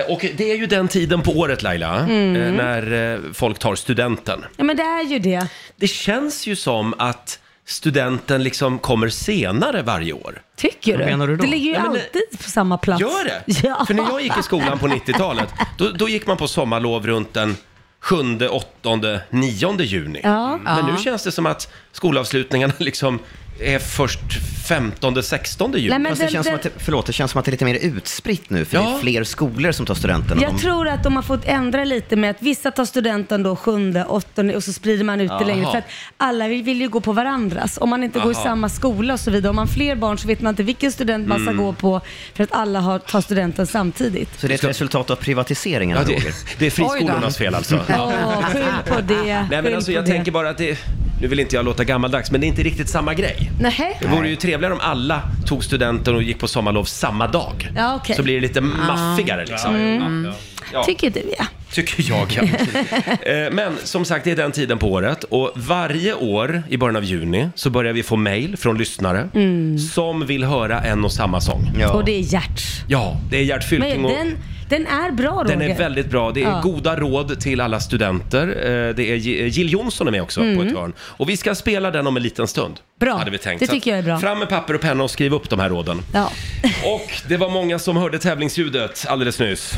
A: Eh, och det är ju den tiden på året Laila,
B: Mm.
A: eh, när eh, folk tar studenten.
B: Ja, men det är ju det.
A: Det känns ju som att studenten liksom kommer senare varje år.
B: Tycker du?
A: Vad menar du då?
B: Det ligger ju
A: Ja, men det-
B: alltid på samma plats.
A: Gör det?
B: Ja.
A: För när jag gick i skolan på 90-talet, då, då gick man på sommarlov runt den 7, 8, 9 juni. Mm.
B: Ja.
A: Men nu
B: Ja.
A: känns det som att skolavslutningarna liksom är först 15, 16 juni.
B: Nej, men
H: Fast det,
B: den-
H: känns som
B: den-
H: att det, förlåt, det känns som att det är lite mer utspritt nu, för det är fler skolor som tar studenten. än
B: Jag
H: de-
B: tror att de har fått ändra lite med att vissa tar studenten då sjunde, åttonde och så sprider man ut det
H: Jaha.
B: längre. För att alla vill, vill ju gå på varandras. Om man inte går i
L: Jaha.
B: samma skola och så vidare. Om man har fler barn så vet man inte vilken student man ska
H: Mm.
B: gå på för att alla har, tar studenten samtidigt.
H: Så det är ett resultat av privatiseringen,
A: det-
H: Roger?
A: det är friskolornas Oj då. fel alltså. Ja.
B: Åh, skyll på det.
A: Nej men
B: skyll
A: alltså
B: på
A: jag
B: det.
A: tänker bara att det, nu vill inte jag låta gammaldags, men det är inte riktigt samma grej.
B: Nej.
A: Det vore ju trevligare om alla tog studenten och gick på sommarlov samma dag.
B: Ja, okej.
A: Så blir det lite
B: Ja.
A: maffigare liksom.
B: Mm.
A: Ja.
B: Tycker du ja.
A: Tycker jag ja. Eh, Men som sagt, det är den tiden på året och varje år i början av juni så börjar vi få mail från lyssnare
B: Mm.
A: som vill höra en och samma sång.
B: Och det är hjärts.
A: Ja, det är Gert
B: Men
A: Fylking och
B: den, den är bra Roger.
A: den är väldigt bra. Det är
B: Ja.
A: goda råd till alla studenter. Eh, Det är Gi- Jill Johnson är med också på
B: Mm.
A: ett hörn. Och vi ska spela den om en liten stund.
B: Bra.
A: Hade vi tänkt.
B: Det
A: Så att
B: tycker jag är bra.
A: Fram med papper och penna och skriv upp de här råden.
B: Ja.
A: Och det var många som hörde tävlingsljudet alldeles nyss.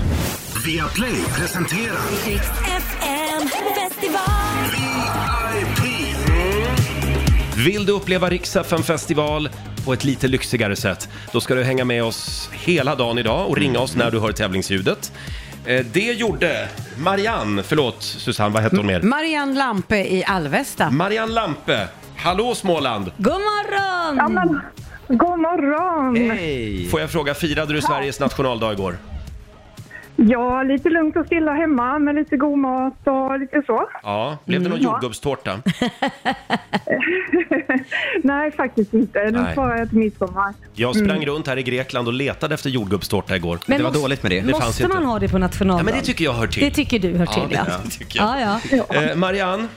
D: Via Play presenterar...
M: FM
A: Vill du uppleva Rix FM festival på ett lite lyxigare sätt? Då ska du hänga med oss hela dagen idag och ringa oss när du hör tävlingsljudet. Eh, Det gjorde Marianne, förlåt Susanne, vad hette hon mer?
E: Marianne Lampe i Alvesta.
A: Marianne Lampe. Hallå Småland!
B: God morgon!
H: Ja, men, god morgon!
A: Får jag fråga, firade du Sveriges nationaldag igår?
H: Ja, lite lugnt och stilla hemma med lite god mat och lite så.
A: Ja, blev det någon
H: Mm.
A: jordgubbstårta?
H: Nej, faktiskt inte. Nu
A: Nej.
H: sparar jag till midsommar.
A: Jag sprang
H: Mm.
A: runt här i Grekland och letade efter jordgubbstårta igår.
B: Men måste- Måste
A: fanns
B: man
A: inte.
B: ha det på
A: Ja,
B: nationaldagen?
A: men det tycker jag hör till.
B: Det tycker du hör
A: Ja,
B: till,
A: det
B: ja.
A: tycker jag.
B: Ja, ja. ja.
A: Eh, Marianne?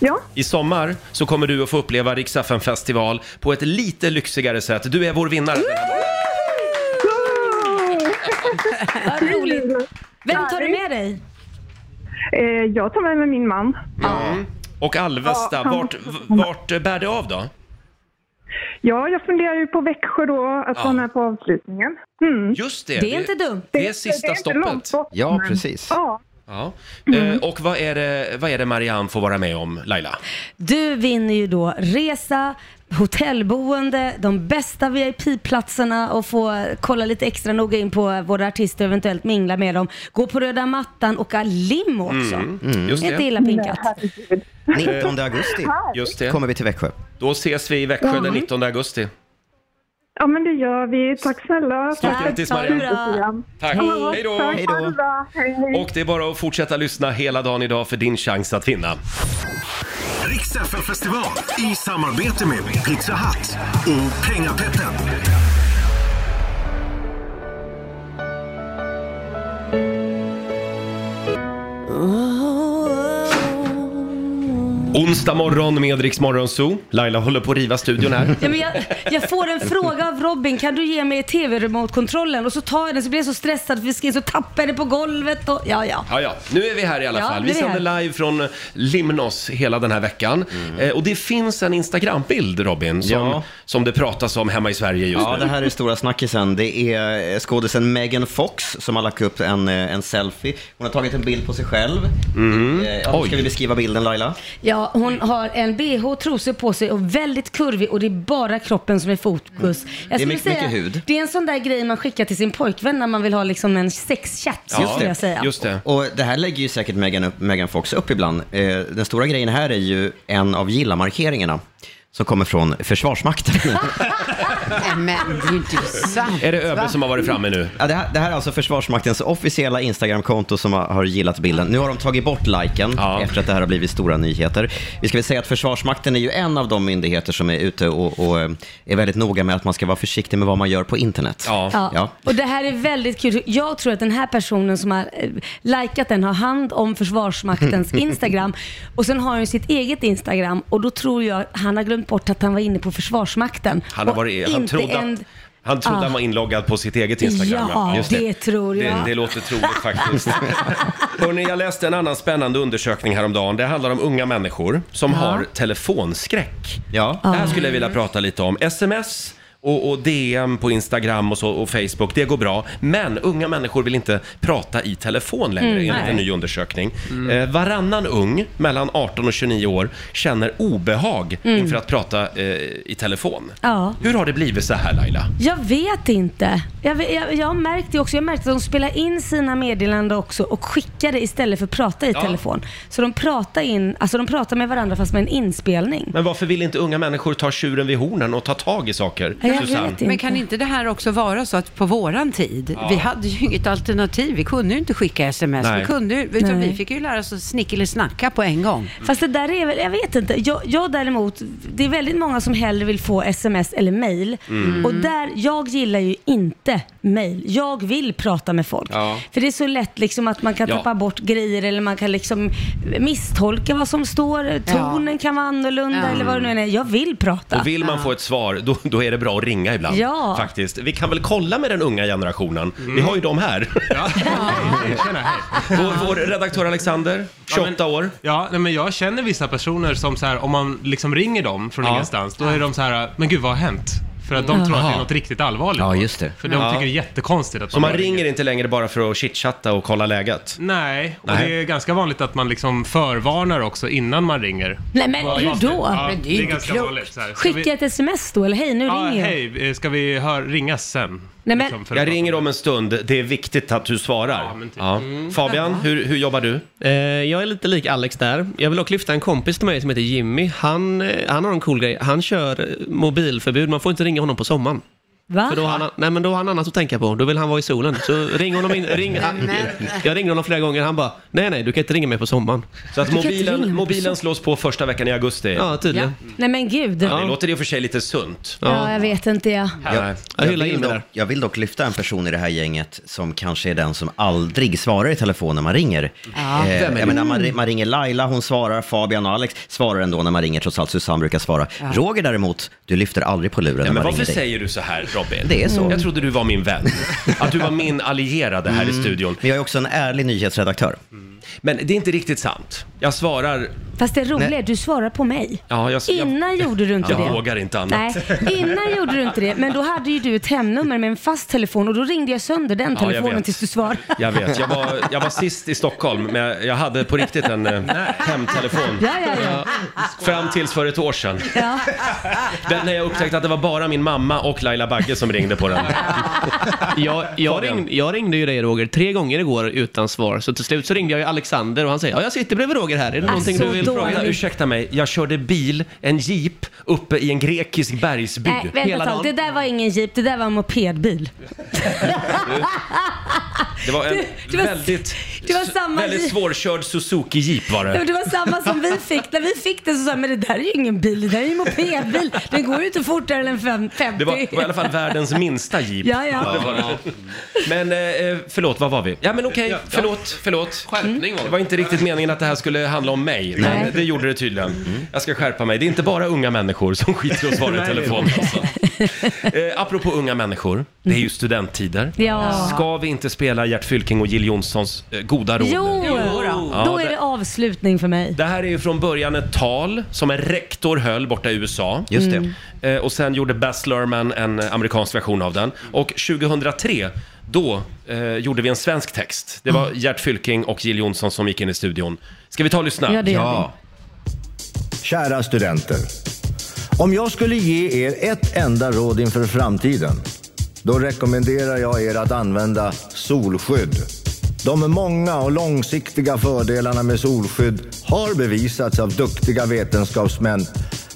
H: Ja?
A: I sommar så kommer du att få uppleva Rix FM festival på ett lite lyxigare sätt. Du är vår vinnare.
B: Vad roligt. Vem tar du med dig?
H: Eh, jag tar med mig min man.
A: Mm. Och Alvesta,
H: Ja, han-
A: vart, v- vart eh, bär det av då?
H: Ja, jag funderar ju på Växjö då, att
A: Ja.
H: vara med på avslutningen. Mm.
A: Just det, Det är det- inte dumt. det är sista
H: inte
A: stoppet.
H: långt bort,
A: Ja,
H: men-
A: precis.
H: Ja.
A: Ja. Eh, och vad är, det, vad är det Marianne får vara med om, Laila?
B: Du vinner ju då resa, hotellboende, de bästa VIP-platserna och få kolla lite extra noga in på våra artister, eventuellt mingla med dem. Gå på röda mattan och åka limo också.
A: Mm, mm, just
B: Inte
A: det.
B: illa pinkat.
C: 19 augusti
A: Just det.
C: kommer vi till Växjö.
A: Då ses vi i Växjö
H: Eh, Ja.
A: den 19 augusti.
H: Ja, men det gör vi. Tack snälla.
A: Stort grattis, Marianne. Tack.
H: Ja,
A: Hej då.
H: tack.
A: Hej då.
H: Ha det bra. Hej, hej.
A: Och det är bara att fortsätta lyssna hela dagen idag för din chans att vinna.
D: Rix FM festival i samarbete med Pizza Hut och Pengapetten.
A: Onsdag morgon med Rix Morgonzoo. Laila håller på att riva studion här.
B: Ja, men jag, jag får en fråga av Robin, kan du ge mig tv-remote-kontrollen? Och så tar jag den så blir jag så stressad för vi ska in så tappar jag den på golvet och ja, ja.
A: Ja, ja. Nu är vi här i alla
B: Ja,
A: fall.
B: nu
A: Vi
B: är vi
A: sänder live från Limnos hela den här veckan. Eh, och det finns en Instagram-bild, Robin, som,
C: Mm. Ja.
A: som det pratas om hemma i Sverige just
C: Ja,
A: nu.
C: det här är stora snackisen. Det är eh, skådisen Megan Fox som har lagt upp en, eh, en selfie. Hon har tagit en bild på sig själv. Mm. Ja, hur ska vi beskriva bilden Laila?
B: Ja, hon har en bh och trosor på sig och väldigt kurvig och det är bara kroppen som är fokus.
C: Det är
B: skulle
C: mycket- mycket hud.
B: Det är en sån där grej man skickar till sin pojkvän när man vill ha liksom en sexchatt, skulle jag säga.
A: det.
C: Och det här lägger ju säkert Megan, upp, Megan Fox upp ibland. Eh, den stora grejen här är ju en av gillamarkeringarna som kommer från Försvarsmakten.
E: Nej, men det är ju inte sant. va?
A: nu?
C: Mm. Ja, det, här, det här är alltså Försvarsmaktens officiella Instagramkonto som har, har gillat bilden. Nu har de tagit bort liken efter att det här har blivit stora nyheter. Vi ska väl säga att Försvarsmakten är ju en av de myndigheter som är ute och, och eh, är väldigt noga med att man ska vara försiktig med vad man gör på internet.
B: Ja. Och det här är väldigt kul. Jag tror att den här personen som har eh, likat den har hand om Försvarsmaktens Instagram. Och sen har han ju sitt eget Instagram och då tror jag han har glömt bort att han var inne på Försvarsmakten.
A: Han, har
B: Och
A: varit, han
B: inte
A: trodde,
B: en-
A: att- han trodde
B: Ah.
A: han var inloggad på sitt eget Instagram.
B: Ja, det. tror jag.
A: Det, det låter troligt faktiskt. Hörrni, jag läste en annan spännande undersökning häromdagen. Det handlar om unga människor som
C: Ja.
A: har telefonskräck.
C: Ja.
A: Det här skulle jag vilja prata lite om. Sms och, och DM på Instagram och, så, och Facebook, det går bra. Men unga människor vill inte prata i telefon längre
N: Mm,
A: enligt
N: nej.
A: en ny undersökning.
B: Mm.
A: Eh, varannan ung mellan 18 och 29 år känner obehag
B: Mm.
A: inför att prata eh, i telefon.
B: Ja.
A: Hur har det blivit så här Laila?
B: Jag vet inte. Jag, ve- jag, jag har märkt det också. Jag har märkt att de spelar in sina meddelanden också och skickar det istället för att prata i
A: Ja.
B: telefon. Så de pratar, in, alltså de pratar med varandra fast med en inspelning.
A: Men varför vill inte unga människor ta tjuren vid hornen och ta tag i saker?
B: Jag
A: Jag Susanne? vet inte.
E: Men kan inte det här också vara så att på våran tid,
A: Ja.
E: vi hade ju inget alternativ. Vi kunde ju inte skicka sms.
A: Nej.
E: Vi, kunde, ju- utan
B: Nej.
E: vi fick ju lära oss att snickelisnacka på en gång.
B: Fast det där är väl, jag vet inte. Jag, jag däremot, det är väldigt många som hellre vill få sms eller mail.
K: Mm.
B: Och där, jag gillar ju inte mail. Jag vill prata med folk.
K: Ja.
B: För det är så lätt liksom att man kan
K: Ja.
B: tappa bort grejer eller man kan liksom misstolka vad som står. Tonen kan vara annorlunda
A: Ja.
B: eller vad det nu än är. Jag vill prata.
A: Och vill man få ett svar, då, då är det bra att ringa ibland.
B: Ja.
A: Faktiskt. Vi kan väl kolla med den unga generationen.
F: Mm.
A: Vi har ju dem här. Vår, vår redaktör Alexander, 28 år.
F: Ja, nej, men jag känner vissa personer som så här, om man liksom ringer dem från
A: Ja.
F: ingenstans, då är de så här, men gud vad har hänt? För att de
A: Ja.
F: tror att det är
A: Aha.
F: något riktigt allvarligt.
A: Ja, just det.
F: För de
A: Ja.
F: tycker det är jättekonstigt att
A: Så man ringer inte längre bara för att chitchatta och kolla läget?
F: Nej, och
A: Nej.
F: det är ganska vanligt att man liksom förvarnar också innan man ringer.
B: Nej men
F: Vad-
B: hur
F: vad-
B: då?
F: Ja, det är, ganska vanligt. Så här. Ska
B: Skicka
F: vi-
B: ett sms då eller hej nu
F: Ja,
B: ringer jag.
F: hej, eh, ska vi hör, ringas sen?
B: Nej, men-
F: Liksom för-
A: Jag ringer om en stund, det är viktigt att du svarar.
F: typ.
A: Ja.
F: Mm.
A: Fabian, hur, hur jobbar du?
J: Eh, jag är lite lik Alex där. Jag vill dock lyfta en kompis till mig som heter Jimmy. Han, eh, han har en cool grej. Han kör eh, mobilförbud. Man får inte ringa honom på sommaren.
B: Va?
J: För då har, han, nej, men då har han annat att tänka på. Då vill han vara i solen. Så ring honom in. Ring, jag ringde honom flera gånger. Han bara, nej, nej, du kan inte ringa mig på sommaren.
A: Så att mobilen, mobilen slås på första veckan i augusti?
J: Ja, tydligen.
B: Nej men gud.
A: Det låter i och för sig lite sunt.
B: Ja, jag vet inte jag.
H: Jag,
J: jag hyllar
H: vill
J: Jimmy
H: dock,
J: där.
H: jag vill dock lyfta en person i det här gänget som kanske är den som aldrig svarar i telefon när man ringer. Eh,
E: Ja, vem är
H: jag
E: det?
H: menar, man, ri- man ringer Laila, hon svarar, Fabian och Alex svarar ändå när man ringer, trots allt Susanne brukar svara.
E: Ja.
H: Roger däremot, du lyfter aldrig på luren när
A: Nej, men
H: man
A: varför
H: ringer dig.
A: säger du så här Robin?
H: Det är så.
A: Jag trodde du var min vän. Att du var min allierade här i
H: Mm.
A: studion. Mm.
H: Men jag är också en ärlig nyhetsredaktör.
A: Men det är inte riktigt sant. Jag svarar...
B: Fast det roliga
A: Nej.
B: är att du svarar på mig.
A: Ja, jag, jag,
B: Innan gjorde du inte
A: jag
B: det.
A: vågar inte annat.
B: Nej, innan gjorde du inte det. Men då hade ju du ett hemnummer med en fast telefon och då ringde jag sönder den
A: Ja, jag
B: telefonen
A: vet.
B: tills du svarade.
A: Jag vet, jag var, jag var sist i Stockholm, men jag- jag hade på riktigt en eh, hemtelefon.
B: Ja, ja, ja.
A: Fram tills för ett år sedan.
B: Ja.
A: Den, när jag upptäckte att det var bara min mamma och Laila Bagge som ringde på den.
J: Jag, jag, ringde, jag ringde ju dig Roger tre gånger igår utan svar. Så till slut så ringde jag ju Alexander och han säger, ja, jag sitter bredvid Roger här. Är det någonting
B: Alltså,
J: du vill
A: Ursäkta,
J: fråga?
A: Ursäkta mig, jag körde bil, en jeep, uppe i en grekisk bergsby.
B: Nej, vänta ett tag. Det där var ingen jeep, det där var en mopedbil.
A: Det var en
B: det var-
A: väldigt,
B: det var samma
A: väldigt
B: jeep.
A: svårkörd Suzuki-jeep var det.
B: Ja, men Det var samma som vi fick. När vi fick den så sa jag, men det där är ju ingen bil, det där är ju en mopedbil. Den går ju inte fortare än fem- 50.
A: Det var, var i alla fall världens minsta jeep.
B: Ja, ja.
A: Det var det. Men eh, förlåt, vad var vi? Ja men okej,
J: Ja.
A: förlåt, förlåt. Skärpning var det. var inte riktigt meningen att det här skulle handla om mig,
J: Nej.
A: men det gjorde det tydligen. Jag ska skärpa mig. Det är inte bara unga människor som skiter i att svara i
J: Nej,
A: telefon. Alltså. Eh, apropå unga människor, det är ju studenttider.
B: Ja.
A: Ska vi inte spela Gert Fylking och Jill Johnsons eh, goda råd
B: Jo,
A: nu?
B: då.
A: Ja,
B: då är det avslutning för mig.
A: det här är ju från början ett tal som en rektor höll borta i USA.
H: Just
B: det.
A: Eh, och sen gjorde Baz Luhrmann en eh, amerikansk version av den. Och 2003, då eh, gjorde vi en svensk text. Det
O: Mm.
A: var Gert Fylking och Jill Johnson som gick in i studion. Ska vi ta och lyssna?
O: Ja, det gör Ja. Kära studenter. Om jag skulle ge er ett enda råd inför framtiden, då rekommenderar jag er att använda solskydd. De många och långsiktiga fördelarna med solskydd har bevisats av duktiga vetenskapsmän,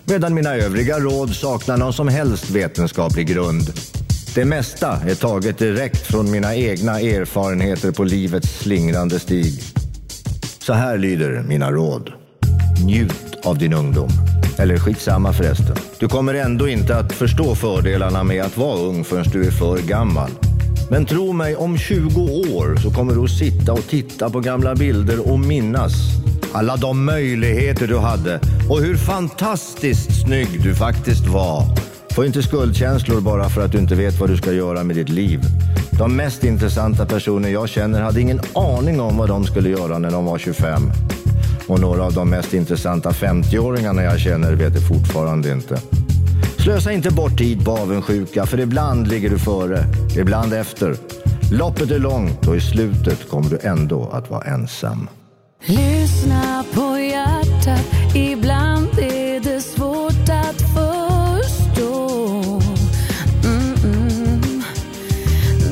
O: medan mina övriga råd saknar någon som helst vetenskaplig grund. Det mesta är taget direkt från mina egna erfarenheter på livets slingrande stig. Så här lyder mina råd. Njut av din ungdom. Eller skitsamma förresten. Du kommer ändå inte att förstå fördelarna med att vara ung förrän du är för gammal. Men tro mig, om 20 år så kommer du att sitta och titta på gamla bilder och minnas alla de möjligheter du hade och hur fantastiskt snygg du faktiskt var. Få inte skuldkänslor bara för att du inte vet vad du ska göra med ditt liv. De mest intressanta personer jag känner hade ingen aning om vad de skulle göra när de var 25. Och några av de mest intressanta 50-åringarna jag känner vet det fortfarande inte. Slösa inte bort tid på avundsjuka, för ibland ligger du före, ibland efter. Loppet är långt och i slutet kommer du ändå att vara ensam.
K: Lyssna på hjärtat, ibland är det svårt att förstå. Mm-mm.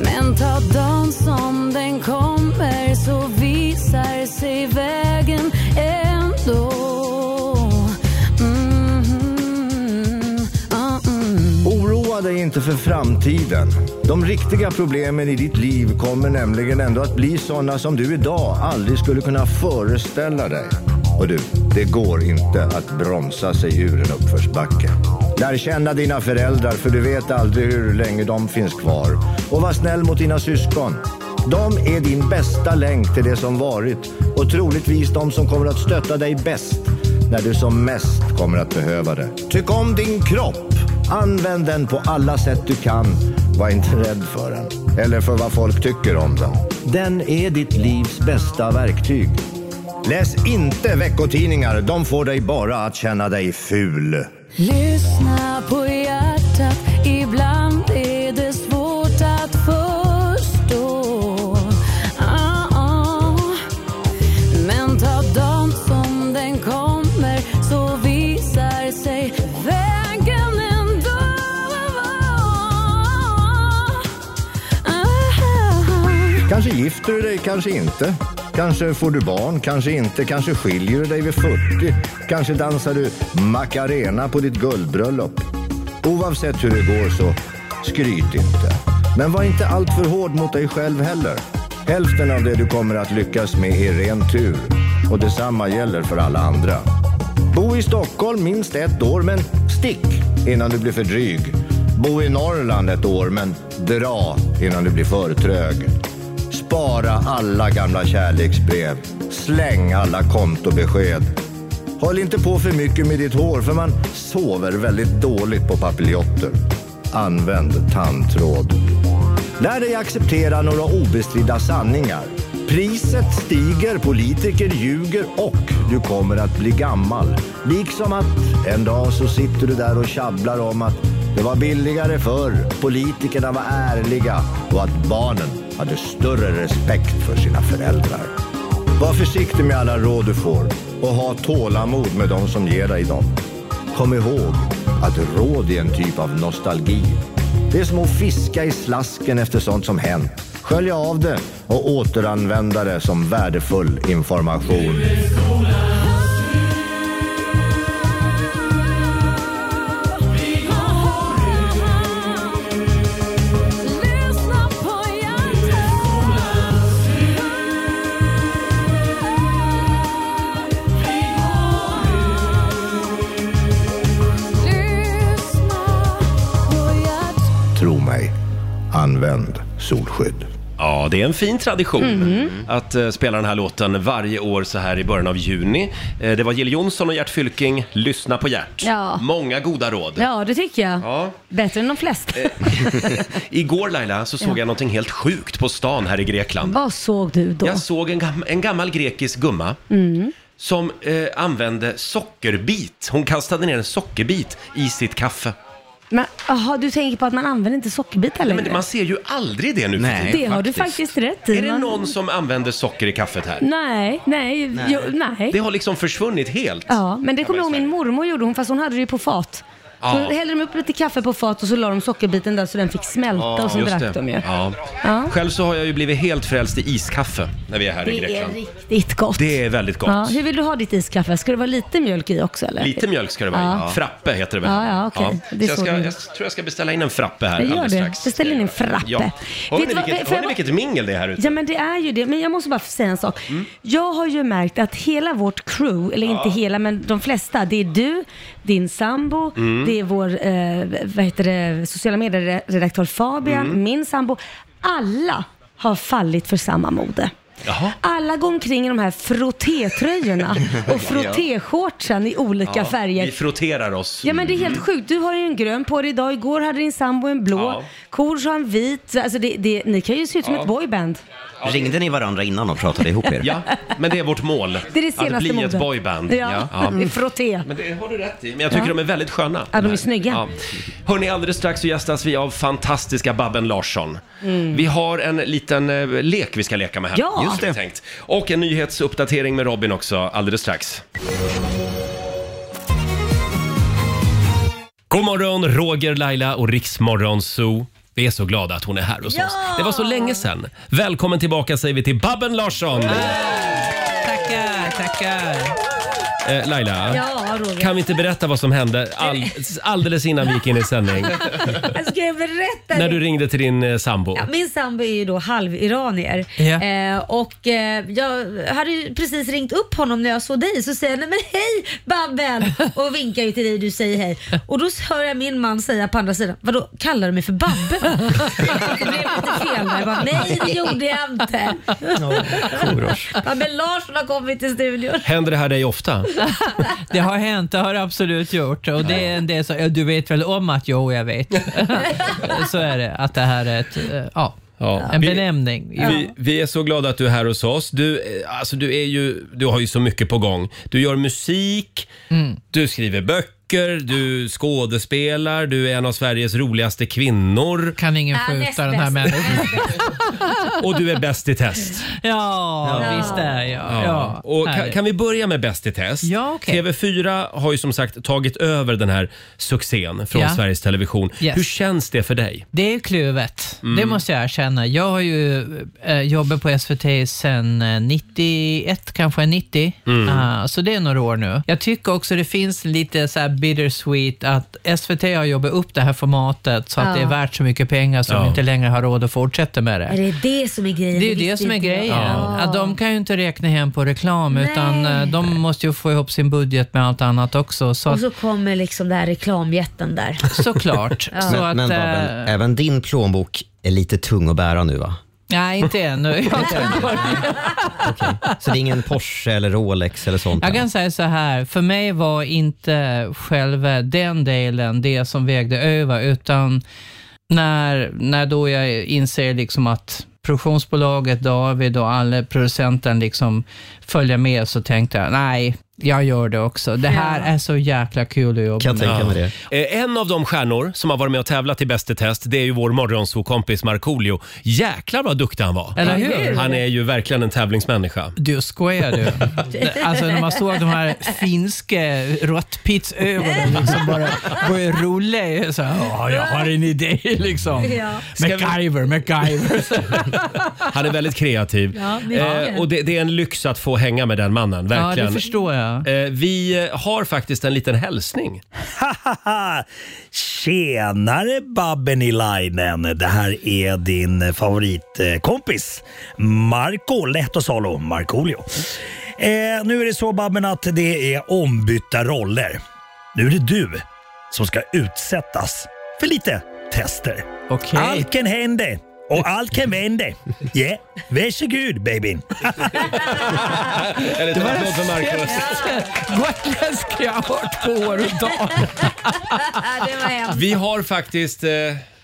K: Men ta dagen som den kommer så visar sig vägen ändå. Mm-mm. Ah, mm.
O: Oroa dig dig inte för framtiden. De riktiga problemen i ditt liv kommer nämligen ändå att bli sådana som du idag aldrig skulle kunna föreställa dig. Och du, det går inte att bromsa sig ur en uppförsbacke. Lär känna dina föräldrar för du vet aldrig hur länge de finns kvar. Och var snäll mot dina syskon. De är din bästa länk till det som varit och troligtvis de som kommer att stötta dig bäst när du som mest kommer att behöva det. Tyck om din kropp. Använd den på alla sätt du kan. Var inte rädd för den. Eller för vad folk tycker om den. Den är ditt livs bästa verktyg. Läs inte veckotidningar. De får dig bara att känna dig ful.
K: Lyssna på hjärtat, ibland är det svårt att förstå. Ah, ah. Men ta dagen som den kommer så visar sig vägen ändå. Ah.
O: Kanske gifter du dig, kanske inte. Kanske får du barn, kanske inte. Kanske skiljer du dig vid 40. Kanske dansar du Macarena på ditt guldbröllop. Oavsett hur det går så skryt inte. Men var inte alltför hård mot dig själv heller. Hälften av det du kommer att lyckas med är ren tur. Och detsamma gäller för alla andra. Bo i Stockholm minst ett år, men stick innan du blir för dryg. Bo i Norrland ett år, men dra innan du blir för trög. Spara alla gamla kärleksbrev. Släng alla kontobesked. Håll inte på för mycket med ditt hår för man sover väldigt dåligt på papiljotter. Använd tandtråd. Lär dig acceptera några obestridda sanningar. Priset stiger, politiker ljuger och du kommer att bli gammal. Liksom att en dag så sitter du där och tjabblar om att det var billigare förr, politikerna var ärliga och att barnen hade större respekt för sina föräldrar. Var försiktig med alla råd du får och ha tålamod med de som ger dig dem. Kom ihåg att råd är en typ av nostalgi. Det är som att fiska i slasken efter sånt som hänt. Skölja av det och återanvända det som värdefull information.
K: Lyssna på hjärtat.
O: Tro mig, använd solskydd.
A: Ja, det är en fin tradition
O: Mhm.
A: att eh, spela den här låten varje år så här i början av juni. Eh, det var Jill Johnson och Gert Fylking, Lyssna på Gert.
B: Ja.
A: Många goda råd.
B: Ja, det tycker jag.
A: Ja. Eh,
B: Bättre än de flesta.
A: Igår Laila så såg
B: Ja.
A: jag någonting helt sjukt på stan här i Grekland.
B: Vad såg du då?
A: Jag såg en, gam- en gammal grekisk gumma
B: Mm.
A: som eh, använde sockerbit. Hon kastade ner en sockerbit i sitt kaffe.
B: Men jaha, du tänker på att man använder inte sockerbitar
A: Nej,
B: längre?
A: men man ser ju aldrig det nu för
B: det
A: tiden.
B: har du faktiskt rätt i.
A: Är det
B: Man-
A: någon som använder socker i kaffet här?
B: Nej, nej, jo, nej.
A: Det har liksom försvunnit helt.
B: Ja, men det
A: Ja,
B: kommer jag ihåg
A: men
B: min mormor gjorde hon, fast hon hade det ju på fat.
A: Ja.
B: Så hällde de upp lite kaffe på fat och så la de sockerbiten där så den fick smälta och så
A: Just
B: drack
A: det.
B: de ju.
A: Ja.
B: Ja.
A: Själv så har jag ju blivit helt frälst i iskaffe när vi är här i
B: Det är
A: Grekland.
B: riktigt gott.
A: Det är väldigt gott.
B: Ja, hur vill du ha ditt iskaffe? Ska det vara lite mjölk i också eller?
A: Lite mjölk ska det vara.
B: Ja.
A: Ja. Frappe heter det väl?
B: Ja, ja, okej. Det
A: Så jag,
B: såg
A: ska,
B: du.
A: jag tror jag ska beställa in en frappe här
B: Det gör
A: alldeles
B: det.
A: strax.
B: Beställ in en frappe.
A: Ja. Hör
B: Vet
A: ni
B: du vad-
A: vilket,
B: får
A: hör
B: jag
A: ni
B: bara-
A: vilket mingel det är här ute? Mm.
B: Ja men det är ju det. Men jag måste bara få säga en sak. Jag har ju märkt att hela vårt crew, eller
A: Ja.
B: inte hela men de flesta, det är du, din sambo,
K: Mm.
B: det är vår eh, vad heter det, sociala medieredaktör Fabian,
K: Mm.
B: min sambo. Alla har fallit för samma mode. Alla går omkring i de här frottétröjorna
A: Ja.
B: och frottéshortsen i olika
A: Ja,
B: färger.
A: Vi frotterar oss.
B: Ja men det är helt
A: Mm.
B: sjukt. Du har ju en grön på dig idag. Igår hade din sambo en blå.
A: Ja.
B: Kors har en vit. Alltså det, det, ni kan ju se ut som
C: Ja.
B: ett boyband.
C: Ringde ni varandra innan och pratade ihop er?
A: Ja, men det är vårt mål.
B: Det är det senaste
A: Att bli ett
B: modet.
A: boyband.
B: Ja, det är frotté.
A: Men det har du rätt i. Men jag tycker de är väldigt sköna.
B: Ja, de är snygga.
A: Ja. Hörni, alldeles strax så gästas vi av fantastiska Babben Larsson.
B: Mm.
A: Vi har en liten eh, lek vi ska leka med här.
B: Ja. Just
A: Som vi
B: det.
A: Tänkt. Och en nyhetsuppdatering med Robin också alldeles strax. God morgon, Roger, Laila och Riksmorgon Zoo. Vi är så glada att hon är här hos
K: Ja!
A: oss. Det var så länge sedan. Välkommen tillbaka säger vi till Babben Larsson.
P: Tackar, tackar.
A: Eh, Laila,
B: Ja, Roger.
A: kan vi inte berätta vad som hände all, alldeles innan vi gick in i sändning?
B: Alltså, Ska jag berätta
A: När
B: det?
A: du ringde till din eh, sambo.
B: Ja, min sambo är ju då halviranier.
A: Ja.
B: Eh, och eh, jag hade ju precis ringt upp honom när jag såg dig så säger han "Nej, men hej Babben och vinkar ju till dig du säger hej. Och då hör jag min man säga på andra sidan, vadå kallar du mig för Babben? det blev lite fel där. Jag bara, Nej det gjorde jag inte. Babben Larsson har kommit till studion.
A: Händer det här dig ofta?
P: Det har hänt, det har det absolut gjort. Och det är en del som, ja, du vet väl om att jo, jag vet. Så är det, att det här är ett, eh, ja,
A: Ja.
P: en
A: Vi-
P: benämning.
A: Vi, vi är så glada att du är här hos oss. Du, eh, alltså, du, är ju, du har ju så mycket på gång. Du gör musik,
P: Mm.
A: du skriver böcker, du skådespelar, du är en av Sveriges roligaste kvinnor.
P: Kan ingen
K: Ja, näst skjuta den här bäst. människan.
A: Och du är bäst i test.
P: Ja,
A: Ja.
P: visst är jag. Ja.
A: Och
P: Här.
A: kan, kan vi börja med Bäst i test? TV4 har ju som sagt tagit över den här succén från
P: Ja.
A: Sveriges Television.
P: Yes.
A: Hur känns det för dig?
P: Det är kluvet,
A: Mm.
P: det måste jag erkänna. Jag har ju eh, jobbat på SVT sedan eh, 91, kanske 90.
K: Mm.
P: Ah, så det är några år nu. Jag tycker också det finns lite så här bittersweet att SVT har jobbat upp det här formatet så att
B: Ja.
P: det är värt så mycket pengar så
B: Ja.
P: de inte längre har råd att fortsätta med det.
B: Är det det som är grejen?
P: Det är ju det
B: visste
P: som är
B: inte jag.
P: grejen. Att de kan ju inte räkna hem på reklam utan eh, de måste ju få ihop sin budget med allt annat också. Så
B: Och
P: att,
B: så kommer liksom den här reklamjätten där.
P: såklart.
B: Ja.
P: så att,
H: Men, men
P: eh,
H: Babben, även din plånbok är lite tung att bära nu va?
P: Nej, inte ännu. Jag har inte
H: Så det är ingen Porsche eller Rolex eller sånt?
P: Jag kan säga så här, för mig var inte själva den delen det som vägde över, utan när, när då jag inser liksom att produktionsbolaget, David och alla producenten liksom följer med så tänkte jag, nej, jag gör det också. Det här är så jäkla kul att jobba med.
A: Eh, En av de stjärnor som har varit med och tävlat i Bäst i test, det är ju vår morgonsokompis Markoolio. Jäklar vad duktig han var!
P: Eller hur?
A: Han är ju verkligen en tävlingsmänniska.
P: Du skojar du? Alltså när man såg de här finska råttpitsögonen liksom bara börja rulla. i- Så, här, Åh, jag har en idé liksom.
K: Ja.
P: MacGyver, MacGyver.
A: Han är väldigt kreativ.
P: Ja, mycket.
A: Eh, och det, det är en lyx att få hänga med den mannen,
P: Ja,
A: verkligen.
P: det förstår jag.
A: Eh, Vi har faktiskt en liten hälsning.
Q: Tjenare Babben Ilainen! Det här är din favoritkompis Marco Lätt och Salo, Markoolio. Eh, nu är det så Babben att det är ombytta roller. Nu är det du som ska utsättas för lite tester.
P: Okay.
Q: Allt kan hända och allt kan vända. Yeah, varsågod babyn.
A: En liten applåd för Marco.
P: Gotländska jag har hört på år och dag.
A: Vi har faktiskt eh,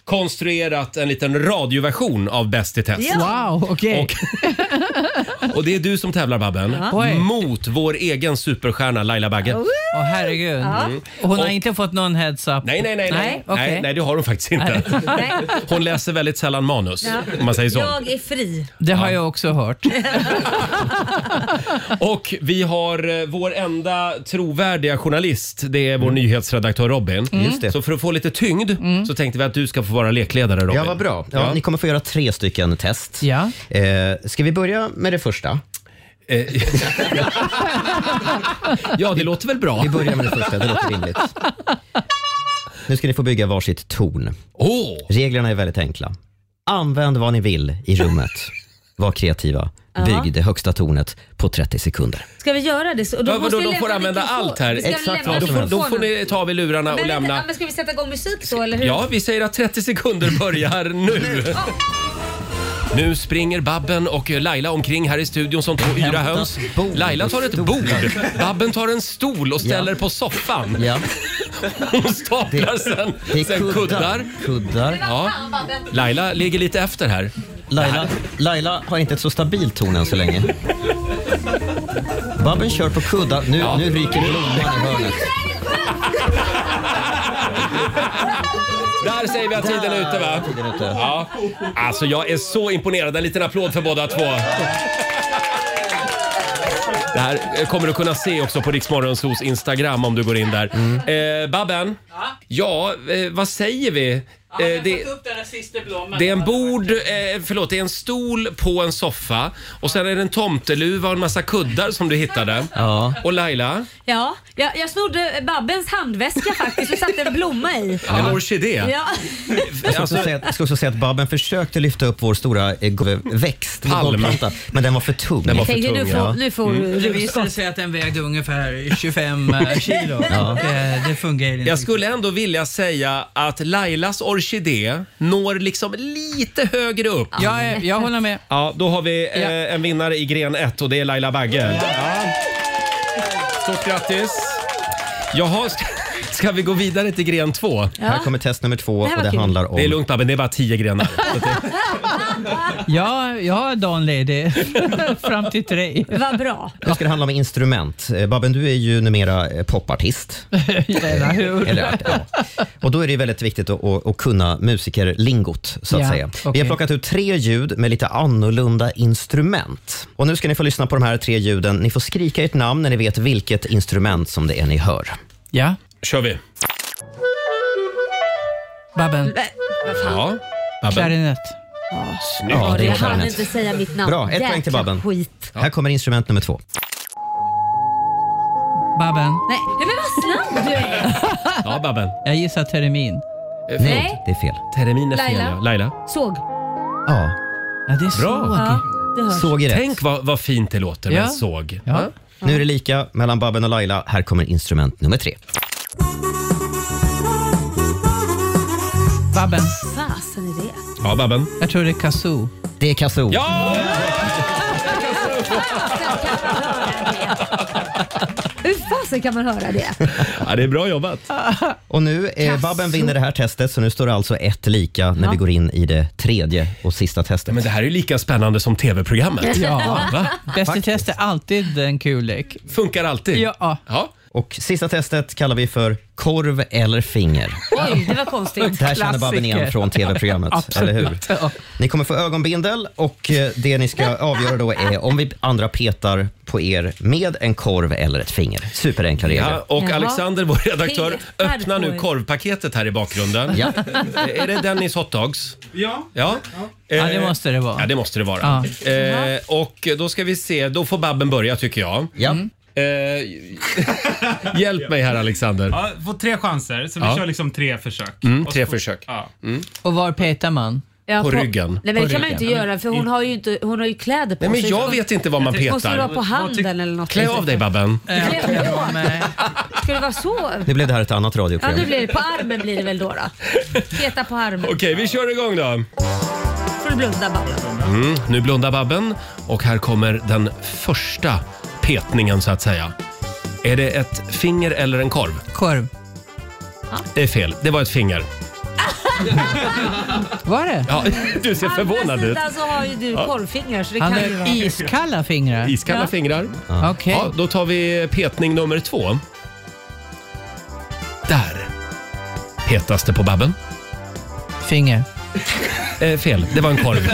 A: konstruerat en liten radioversion av Bäst i test.
P: Wow, okej.
A: Och det är du som tävlar Babben,
P: Ja. Oj.
A: mot vår egen superstjärna Laila Bagge.
P: Åh herregud.
A: Ja.
P: Mm. Och Hon har
A: Och-
P: inte fått någon heads up?
A: Nej, nej, nej. Nej,
P: okej.
A: nej, nej det har hon faktiskt inte.
B: Nej.
A: Hon läser väldigt sällan manus,
B: Ja.
A: om man säger så.
B: Jag är fri.
P: Det har jag också hört.
A: Och vi har eh, vår enda trovärdiga journalist, det är vår nyhetsredaktör Robin.
H: Mm. Just det. Mm.
A: Så för att få lite tyngd så tänkte vi att du ska få vara lekledare Robin.
H: Ja, vad bra. Ja, Ni kommer få göra tre stycken test.
P: Ja.
H: Eh, ska vi börja med det första?
A: ja, det låter väl bra?
H: Vi börjar med det första, det låter rimligt. Nu ska ni få bygga varsitt torn.
A: Oh.
H: Reglerna är väldigt enkla. Använd vad ni vill i rummet. Var kreativa.
B: Ja.
H: Bygg det högsta tornet på 30 sekunder.
B: Ska vi göra det? Så,
A: Ja,
B: måste
A: vadå,
B: vi
A: de
B: lämna
A: får använda
B: mikrofon-
A: allt här.
B: Vi ska
A: Exakt
B: lämna
A: vad som helst. Då
B: mikrofonen.
A: får ni ta av er lurarna och
B: Men vänta,
A: lämna.
B: ja, Men ska vi sätta igång musik då eller hur? Ah.
A: Ja, vi säger att 30 sekunder börjar nu. Nu springer Babben och Laila omkring här i studion som två yra höns. Laila tar ett bord. Babben tar en stol och ställer på soffan. Hon staplar sen,
H: det är
A: sen kuddar.
H: Kuddar.
A: Ja. Laila ligger lite efter här.
H: Laila, Laila har inte ett så stabilt torn än så länge. Babben kör på kuddar. Nu, nu ryker blomman i hörnet.
A: Där säger vi att tiden är ute va? Ja. Alltså jag är så imponerad. En liten applåd för båda två. Det här eh, kommer du kunna se också på Mm. Riksmorgonsos Instagram om du går in där. Eh, Babben, ja, eh, vad säger vi? Eh, det,
P: upp den där sista blomman.
A: det är en bord, eh, förlåt, det är en stol på en soffa och sen är det en tomteluva och en massa kuddar som du hittade. Och Laila,
B: Ja, jag, jag snodde Babbens handväska faktiskt och satte en blomma i.
A: en orkidé.
B: Ja.
C: Jag ska, också
A: Alltså-
C: säga, att- jag ska också säga att Babben försökte lyfta upp vår stora eh, go- växt, vår
P: Palm.
C: golvplanta, men den var för tung.
P: Den var för Jag tänkte, tung,
B: nu får- ja. nu får
A: Mm.
B: du-
P: Mm. Det visade sig att den vägde ungefär 25 kilo. eh,
A: Ja.
P: Det, det fungerar inte.
A: Jag skulle ändå vilja säga att Lailas orkidé når liksom lite högre upp.
P: Jag, är- jag håller med.
A: Ja, då har vi eh, en vinnare i gren 1 och det är Laila Bagge. Ja. Stort grattis! Jaha, ska, ska vi gå vidare till gren 2?
C: Ja. Här kommer test nummer två
P: Det här var och det kul. handlar om-
A: Det är lugnt Babben, det är bara 10 grenar.
P: Ja, jag har dagen ledig fram till tre.
B: Vad bra.
C: Nu ska det handla om instrument. Eh, Babben, du är ju numera eh, popartist.
P: Eller hur?
C: Eller, art- ja. Och då är det ju väldigt viktigt att, att, att kunna musikerlingot, så att
P: Ja,
C: säga. Vi
P: okej.
C: har plockat ut tre ljud med lite annorlunda instrument. Och nu ska ni få lyssna på de här tre ljuden. Ni får skrika ert namn när ni vet vilket instrument som det är ni hör.
P: Ja.
A: Kör vi.
P: Babben.
A: Ja.
P: Klarinett.
C: Snyggt. Ja, det är
B: jag hann
C: klarinett.
B: inte säga mitt namn.
C: Bra, ett poäng till
B: Jäkla
C: Babben.
B: Skit.
C: Här kommer instrument nummer två.
P: Babben.
B: Nej, nej, men vad snabb du är!
A: Ja, Babben. Eh,
P: Jag gissar termin.
B: förlåt. Nej.
C: det är fel.
A: Termin
B: är fel, Laila? ja.
A: Laila?
B: Såg.
C: Ja.
P: Ja, det är
A: Bra.
B: Ja, det hörs.
C: Såg är rätt.
A: Tänk vad, vad fint det låter med såg. Ja.
C: Nu är det lika mellan Babben och Laila. Här kommer instrument nummer tre.
P: Babben.
B: Fasen är det?
A: Ja, Babben.
P: Jag tror det är kazoo.
C: Det är kazoo.
A: Ja!
B: Hur fasen kan man höra det?
A: Ja, det är bra jobbat.
C: Och nu, eh, Babben vinner det här testet, så nu står det alltså ett lika när
B: Ja.
C: vi går in i det tredje och sista testet.
A: Men det här är ju lika spännande som tv-programmet.
P: Ja.
A: Va?
P: Bäst i test är alltid en kul lek.
A: Funkar alltid.
P: Ja.
C: Och sista testet kallar vi för korv eller finger.
B: Oj, det var konstigt.
C: Det här känner Babben igen från tv-programmet, eller hur? Ni kommer få ögonbindel och eh, det ni ska avgöra då är om vi andra petar på er med en korv eller ett finger. Superenkla regler.
A: Ja, och
C: Jaha.
A: Alexander, vår redaktör,
C: Petar
A: öppnar nu
C: på er.
A: korvpaketet här i bakgrunden.
C: Ja.
A: Är det Dennis hotdogs?
J: Ja.
A: Ja. eh,
P: Ja, det måste det vara.
A: Ja, det måste det vara.
P: Ja.
A: Eh, och då ska vi se, då får Babben börja tycker jag.
C: Ja.
A: Eh, hjälp mig här Alexander.
J: Ja, får tre chanser, så vi
A: Ja.
J: kör liksom tre försök.
A: Mm, tre
J: Och så får-
A: försök.
J: Ja.
P: Och var petar man?
B: Ja,
A: På ryggen.
B: Nej, men det
A: På
B: kan man ju
A: ryggen.
B: inte göra för hon har ju, inte, hon har ju kläder på
A: Nej, men
B: sig.
A: jag vet inte vad man
B: Måste Måste
A: petar.
B: det vara på handen eller något?
A: Klä av dig Babben.
B: Ska det vara så?
C: Nu blev det här ett annat
B: Ja,
C: radioprogram.
B: nu blir det. På armen blir det väl då. då. Peta på armen.
A: Okej, vi kör igång då.
B: får du blunda bara.
A: Mm, nu blundar Babben och här kommer den första petningen så att säga. Är det ett finger eller en korv?
P: Korv.
A: Det är fel, det var ett finger.
P: Var det?
A: Ja, du ser förvånad ut.
B: Sidan så har ju du
A: Ja.
B: korvfingrar så det
P: Han
B: kan ju
P: har
B: vara...
P: iskalla fingrar.
A: Iskalla fingrar.
P: Okej.
A: Ja, då tar vi petning nummer två. Där petas det på Babben.
P: Finger.
A: Eh, fel, det var en korv.
B: Du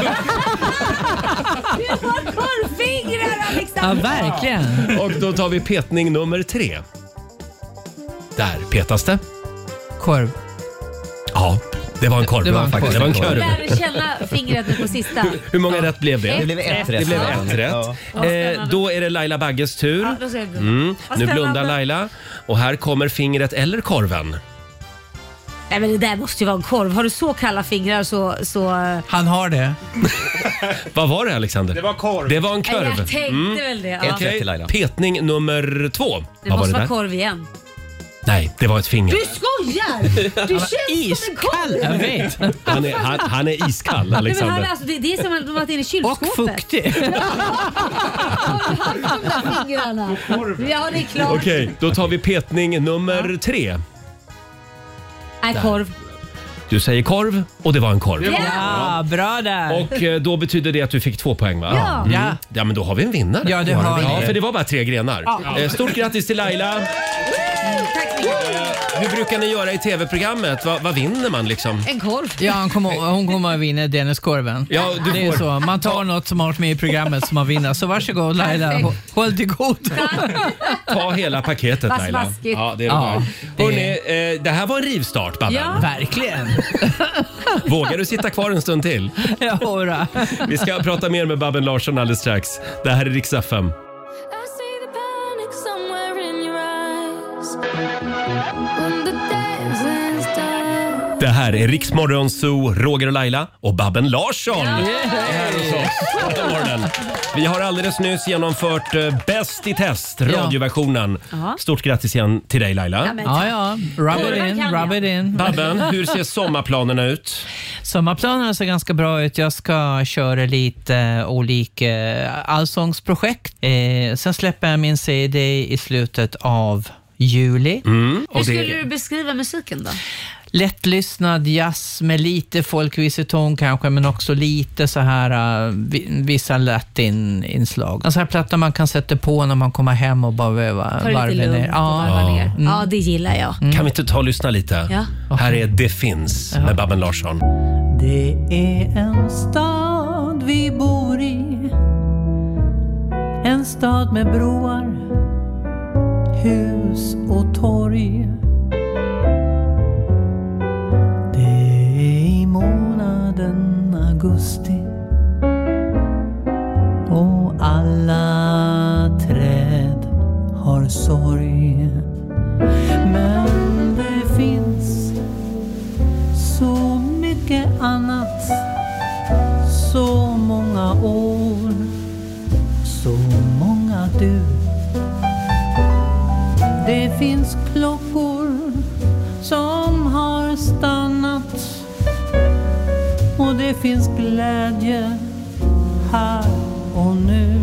B: har korvfingrar
P: Ja,
B: Alexander!
P: verkligen.
A: Och då tar vi petning nummer tre. Där petas det.
P: Korv.
A: Ja, det var en korv.
P: Det var en korv.
A: Det var en
B: Du
A: korv.
B: lär känna fingret nu på sista.
A: Hur många rätt blev det?
B: Det blev ett
A: Det
B: rätt.
A: blev
B: Ja.
A: ett rätt.
B: Ja.
A: Eh, då är det Laila Bagges tur.
B: Ja, då ska jag blunda.
A: Mm.
B: Vad
A: Nu
B: spännande.
A: blundar Laila. Och här kommer fingret eller korven.
B: Nej men det där måste ju vara en korv. Har du så kalla fingrar så... så...
P: Han har det.
A: Vad var det Alexander? Det var korv. Det var en korv. Mm.
B: Jag tänkte väl det, ja. Ett rätt
A: Okej,
B: till Laila.
A: Petning nummer två.
B: Det
A: Vad var
B: måste
A: det
B: vara
A: där?
B: korv igen.
A: Nej, det var ett finger.
B: Du skojar! Du känns som en korv!
P: Jag vet.
A: Han är, han, han är iskall
B: Nej, men han,
A: Alexander.
B: är alltså, det, det är som att de har varit inne i kylskåpet.
P: Och fuktig.
B: Har du haft de där fingrarna? Ja, det är klart.
A: Okej, då tar vi petning nummer tre.
B: Nej, korv.
A: Du säger korv och det var en korv.
P: Ja, bra där.
A: Och eh, då betyder det att du fick två poäng va?
P: Ja. Ja.
A: ja men då har vi en vinnare.
P: Ja, det har vi.
A: Ja, för det var bara tre grenar.
P: Ja.
A: Eh, Stort grattis till Laila. Hur brukar ni göra i tv-programmet? Vad, vad vinner man liksom?
B: En korv.
P: Ja, hon kommer, hon kommer att vinna Denniskorven.
A: Ja, du
P: det är
A: får-
P: så. Man tar något som har varit med i programmet som man vinner. Så varsågod Laila,
A: Perfekt.
P: Hå- håll till god.
A: Ta hela paketet
P: Vad
A: Laila.
P: smaskigt.
A: Ja, det, är
P: Ja,
A: det. Hörrni, eh, det här var en rivstart Babben.
P: Verkligen.
A: Vågar du sitta kvar en stund till?
P: Ja, hurra.
A: Vi ska prata mer med Babben Larsson alldeles strax. Det här är Rix FM.
G: I see the panic somewhere in your eyes. When the dancing's done.
A: Det här är Rix Morgon Zoo, Roger och Laila och Babben Larsson. Den morgonen. Vi har alldeles nyss genomfört eh, Bäst i test,
P: Ja.
A: radioversionen.
P: Ja.
A: Stort grattis igen till dig Laila.
P: Ja, ja. Rub it in, rub it in.
A: Babben, hur ser sommarplanerna ut?
P: Sommarplanerna ser ganska bra ut. Jag ska köra lite olika allsångsprojekt. Eh, sen släpper jag min CD i slutet av juli.
A: Mm.
B: Hur skulle du beskriva musiken då?
P: lättlyssnad jazz med lite folkviseton kanske, men också lite så här eh, vi- vissa latininslag. En sån här platta man kan sätta på när man kommer hem och bara varva,
B: Ta
A: Äh,
B: det lite
P: varva
B: lugnt
P: ner.
B: och varva ner.
P: Mm.
B: Ja, det gillar jag.
A: Kan vi inte ta och lyssna lite?
B: Ja.
A: Här är Det finns med Babben Larsson.
G: Det är en stad vi bor i En stad med broar, hus och torg Det är i månaden augusti och alla träd har sorg Men det finns så mycket annat Så många år Så många du Det finns klockor som har stannat Och det finns glädje här och nu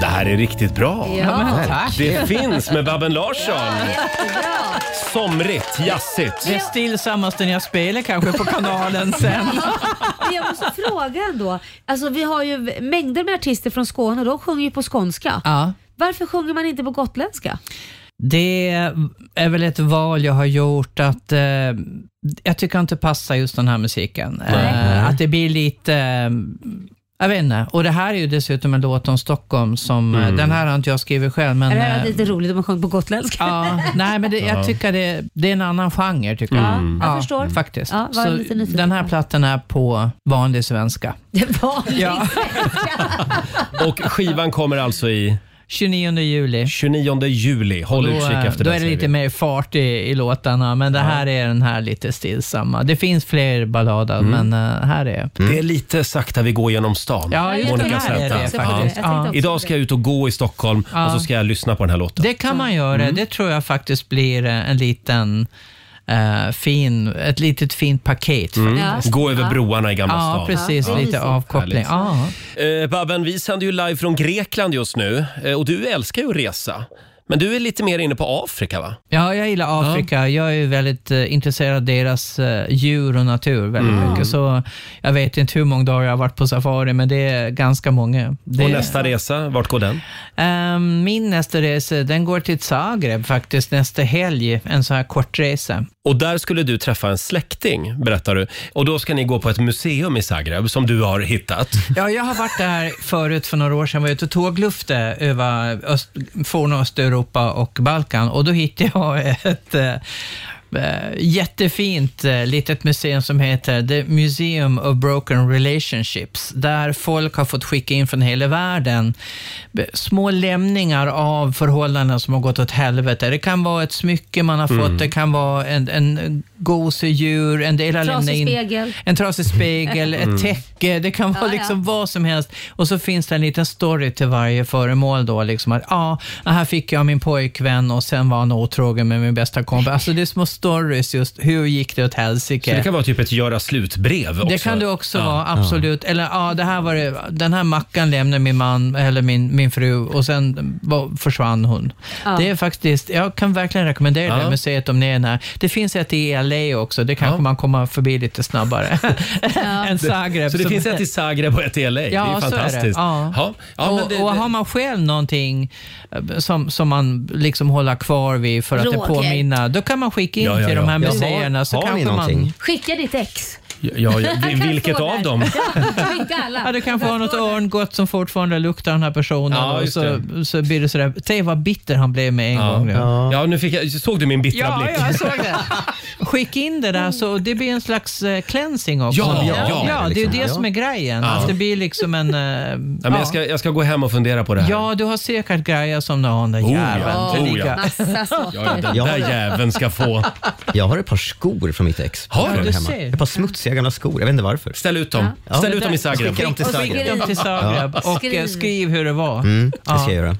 A: Det här är riktigt bra.
G: Ja, men tack.
A: Det finns med Babben Larsson.
G: Jättebra!
A: Somrigt, jazzigt.
P: Det är stillsammaste jag spelar kanske på kanalen sen.
B: Men jag måste fråga ändå. Alltså, vi har ju mängder med artister från Skåne och de sjunger ju på skånska.
P: Ja.
B: Varför sjunger man inte på gotländska?
P: Det är väl ett val jag har gjort att eh, jag tycker inte passar just den här musiken. Eh, att det blir lite, eh, jag vet inte. Och det här är ju dessutom en låt om Stockholm som, eh,
B: Mm.
P: den här har inte jag skrivit själv. Men,
B: Men, det här
P: eh,
B: var lite roligt om man sjöng på gotländska.
P: Ja, nej, men det,
B: Ja.
P: jag tycker det, det är en annan genre. Tycker jag.
B: Mm. jag förstår.
P: Faktiskt.
B: Ja, var
P: Så
B: lite nyfiken
P: den här plattan är på vanlig svenska.
B: Det var
P: Ja.
A: Och skivan kommer alltså i?
P: 29 juli.
A: 29 juli. Håll
P: då, eh,
A: utkik efter
P: då är
A: den,
P: det
A: säger
P: lite mer fart i, i låtarna, men det här är den här lite stillsamma. Det finns fler ballader,
A: Mm.
P: men eh, här är...
A: vi. Det är lite sakta vi går genom stan.
P: Ja, just det,
A: Monica
P: det här är det
A: Zeta.
P: faktiskt. Jag tänkte också på
A: Idag
P: det.
A: ska jag ut och gå i Stockholm
P: Ja.
A: och så ska jag lyssna på den här låten.
P: Det kan man göra.
A: Mm.
P: Det tror jag faktiskt blir eh, en liten eh, fin, ett litet fint paket.
A: Mm.
P: faktiskt.
A: Gå över broarna i Gamla
P: Ja,
A: stan.
P: precis.
A: Ja.
P: Lite
A: Härligt.
P: avkoppling. Ja.
A: Eh, Babben, vi sänder ju live från Grekland just nu eh, och du älskar ju att resa. Men du är lite mer inne på Afrika va?
P: Ja, jag gillar Afrika. Jag är väldigt eh, intresserad av deras eh, djur och natur väldigt
A: Mm.
P: mycket. Så jag vet inte hur många dagar jag har varit på safari, men det är ganska många. Det,
A: Och nästa resa, vart går den?
P: Eh, min nästa resa, den går till Zagreb faktiskt nästa helg. En sån här kortresa.
A: Och där skulle du träffa en släkting, berättar du. Och då ska ni gå på ett museum i Zagreb som du har hittat.
P: Ja, jag har varit där förut för några år sedan. Jag var ute och tåglufte över öst, forna Östeuropa och Balkan och då hittade jag ett eh, eh, jättefint eh, litet museum som heter The Museum of Broken Relationships, där folk har fått skicka in från hela världen b- små lämningar av förhållanden som har gått åt helvete. Det kan vara ett smycke man har fått,
G: Mm.
P: det kan vara en, en gosedjur, en del har lämnat
B: Trasig
P: in...
B: spegel.
P: En trasig spegel,
B: Mm.
P: ett täcke, det kan vara
B: Ja, ja.
P: liksom vad som helst. Och så finns det en liten story till varje föremål då. Liksom att, ja, här fick jag min pojkvän och sen var han otrogen med min bästa kompis. Alltså det är små stories just hur gick det åt helsike.
A: Så det kan vara typ ett göra slut-brev också?
P: Det kan det också vara, absolut. Eller ja, det här var det, den här mackan lämnade min man eller min, min fru och sen var, försvann hon.
C: Ja.
P: Det är faktiskt, jag kan verkligen rekommendera
C: Ja.
P: det museet om ni är nära. Det finns ett i LA också, det kanske man kommer förbi lite snabbare än Zagreb.
A: Så det
P: som-
A: finns ett i Zagreb och ett i LA? det är
P: Ja,
A: ju
P: så är det.
A: fantastiskt.
P: Ja.
A: Ja. Ja, men
P: och,
A: det-
P: och
A: det-
P: har man själv någonting eh, som, som man liksom håller kvar vid för att det
G: Roger.
P: påminner, då kan man skicka in
A: Ja, ja,
P: till de här
A: ja. Ja,
P: museerna.
A: har-
P: så
A: har ni
P: kanske man...
A: någonting?
G: Skicka ditt ex.
A: Ja, ja,
G: Han kan
A: vilket
G: stå
A: av
G: där.
A: dem?
G: Ja, skicka alla.
P: Ja, det kanske var något örngott som fortfarande luktar den här personen.
A: Ja,
P: och
A: just
P: så, så blir det sådär, tänk vad bitter han blev med en
A: Ja.
P: gång. nu.
A: Ja, nu fick jag, såg du min bittra
P: Ja,
A: blick?
P: ja, jag såg det. Skicka in det där så det blir en slags eh, cleansing också.
A: Ja, ja,
P: ja, det är ju
A: liksom.
P: det
A: Ja.
P: som är grejen.
A: Ja.
P: Att det blir liksom en... eh,
A: Ja, men jag, ska, jag ska gå hem och fundera på det här.
P: Ja, du har säkert grejer som du har den där
A: Oh, ja.
P: jäveln.
A: Oh,
P: Det ligger-
A: ja.
G: Massa saker.
A: Ja, den där jäveln ska få.
H: Jag har ett par skor från mitt ex.
A: Har du?
H: Hemma.
A: Du ser.
H: Ett par smutsiga gamla skor. Jag vet inte varför.
A: Ställ ut dem. Ställ ut dem i Zagreb.
H: Skicka dem till
A: Och
H: Zagreb.
A: skicka dem till
P: Zagreb.
A: Ja.
P: Och eh, skriv hur det var.
H: Mm, det ska jag göra.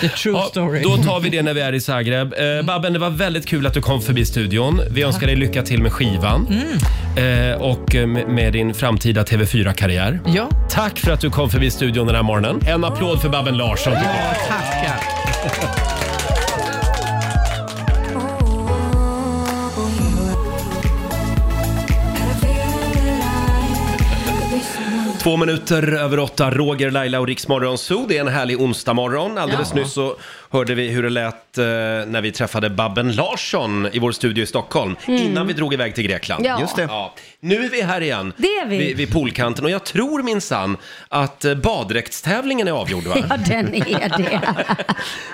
P: The true story. Mm.
A: Då tar vi det när vi är i Zagreb. Eh, Babben, det var väldigt kul att du kom förbi studion. Vi önskar dig lycka till med skivan eh, och eh, med- med din framtida TV4-karriär.
P: Mm. Ja.
A: Tack för att du kom förbi studion den här morgonen. En applåd för Babben Larsson.
P: Tackar.
A: Två minuter över åtta, Roger, Laila och Riksmorgon Zoo. Det är en härlig onsdagmorgon. Alldeles
F: Ja.
A: nyss så hörde vi hur det lät eh, när vi träffade Babben Larsson i vår studio i Stockholm.
G: Mm.
A: Innan vi drog iväg till Grekland.
G: Ja. Just det.
A: Ja. Nu är vi här igen.
G: Det är vi.
A: Vid, vid poolkanten. Och jag tror minsann att eh, baddräktstävlingen är avgjord va?
G: Ja, den är det.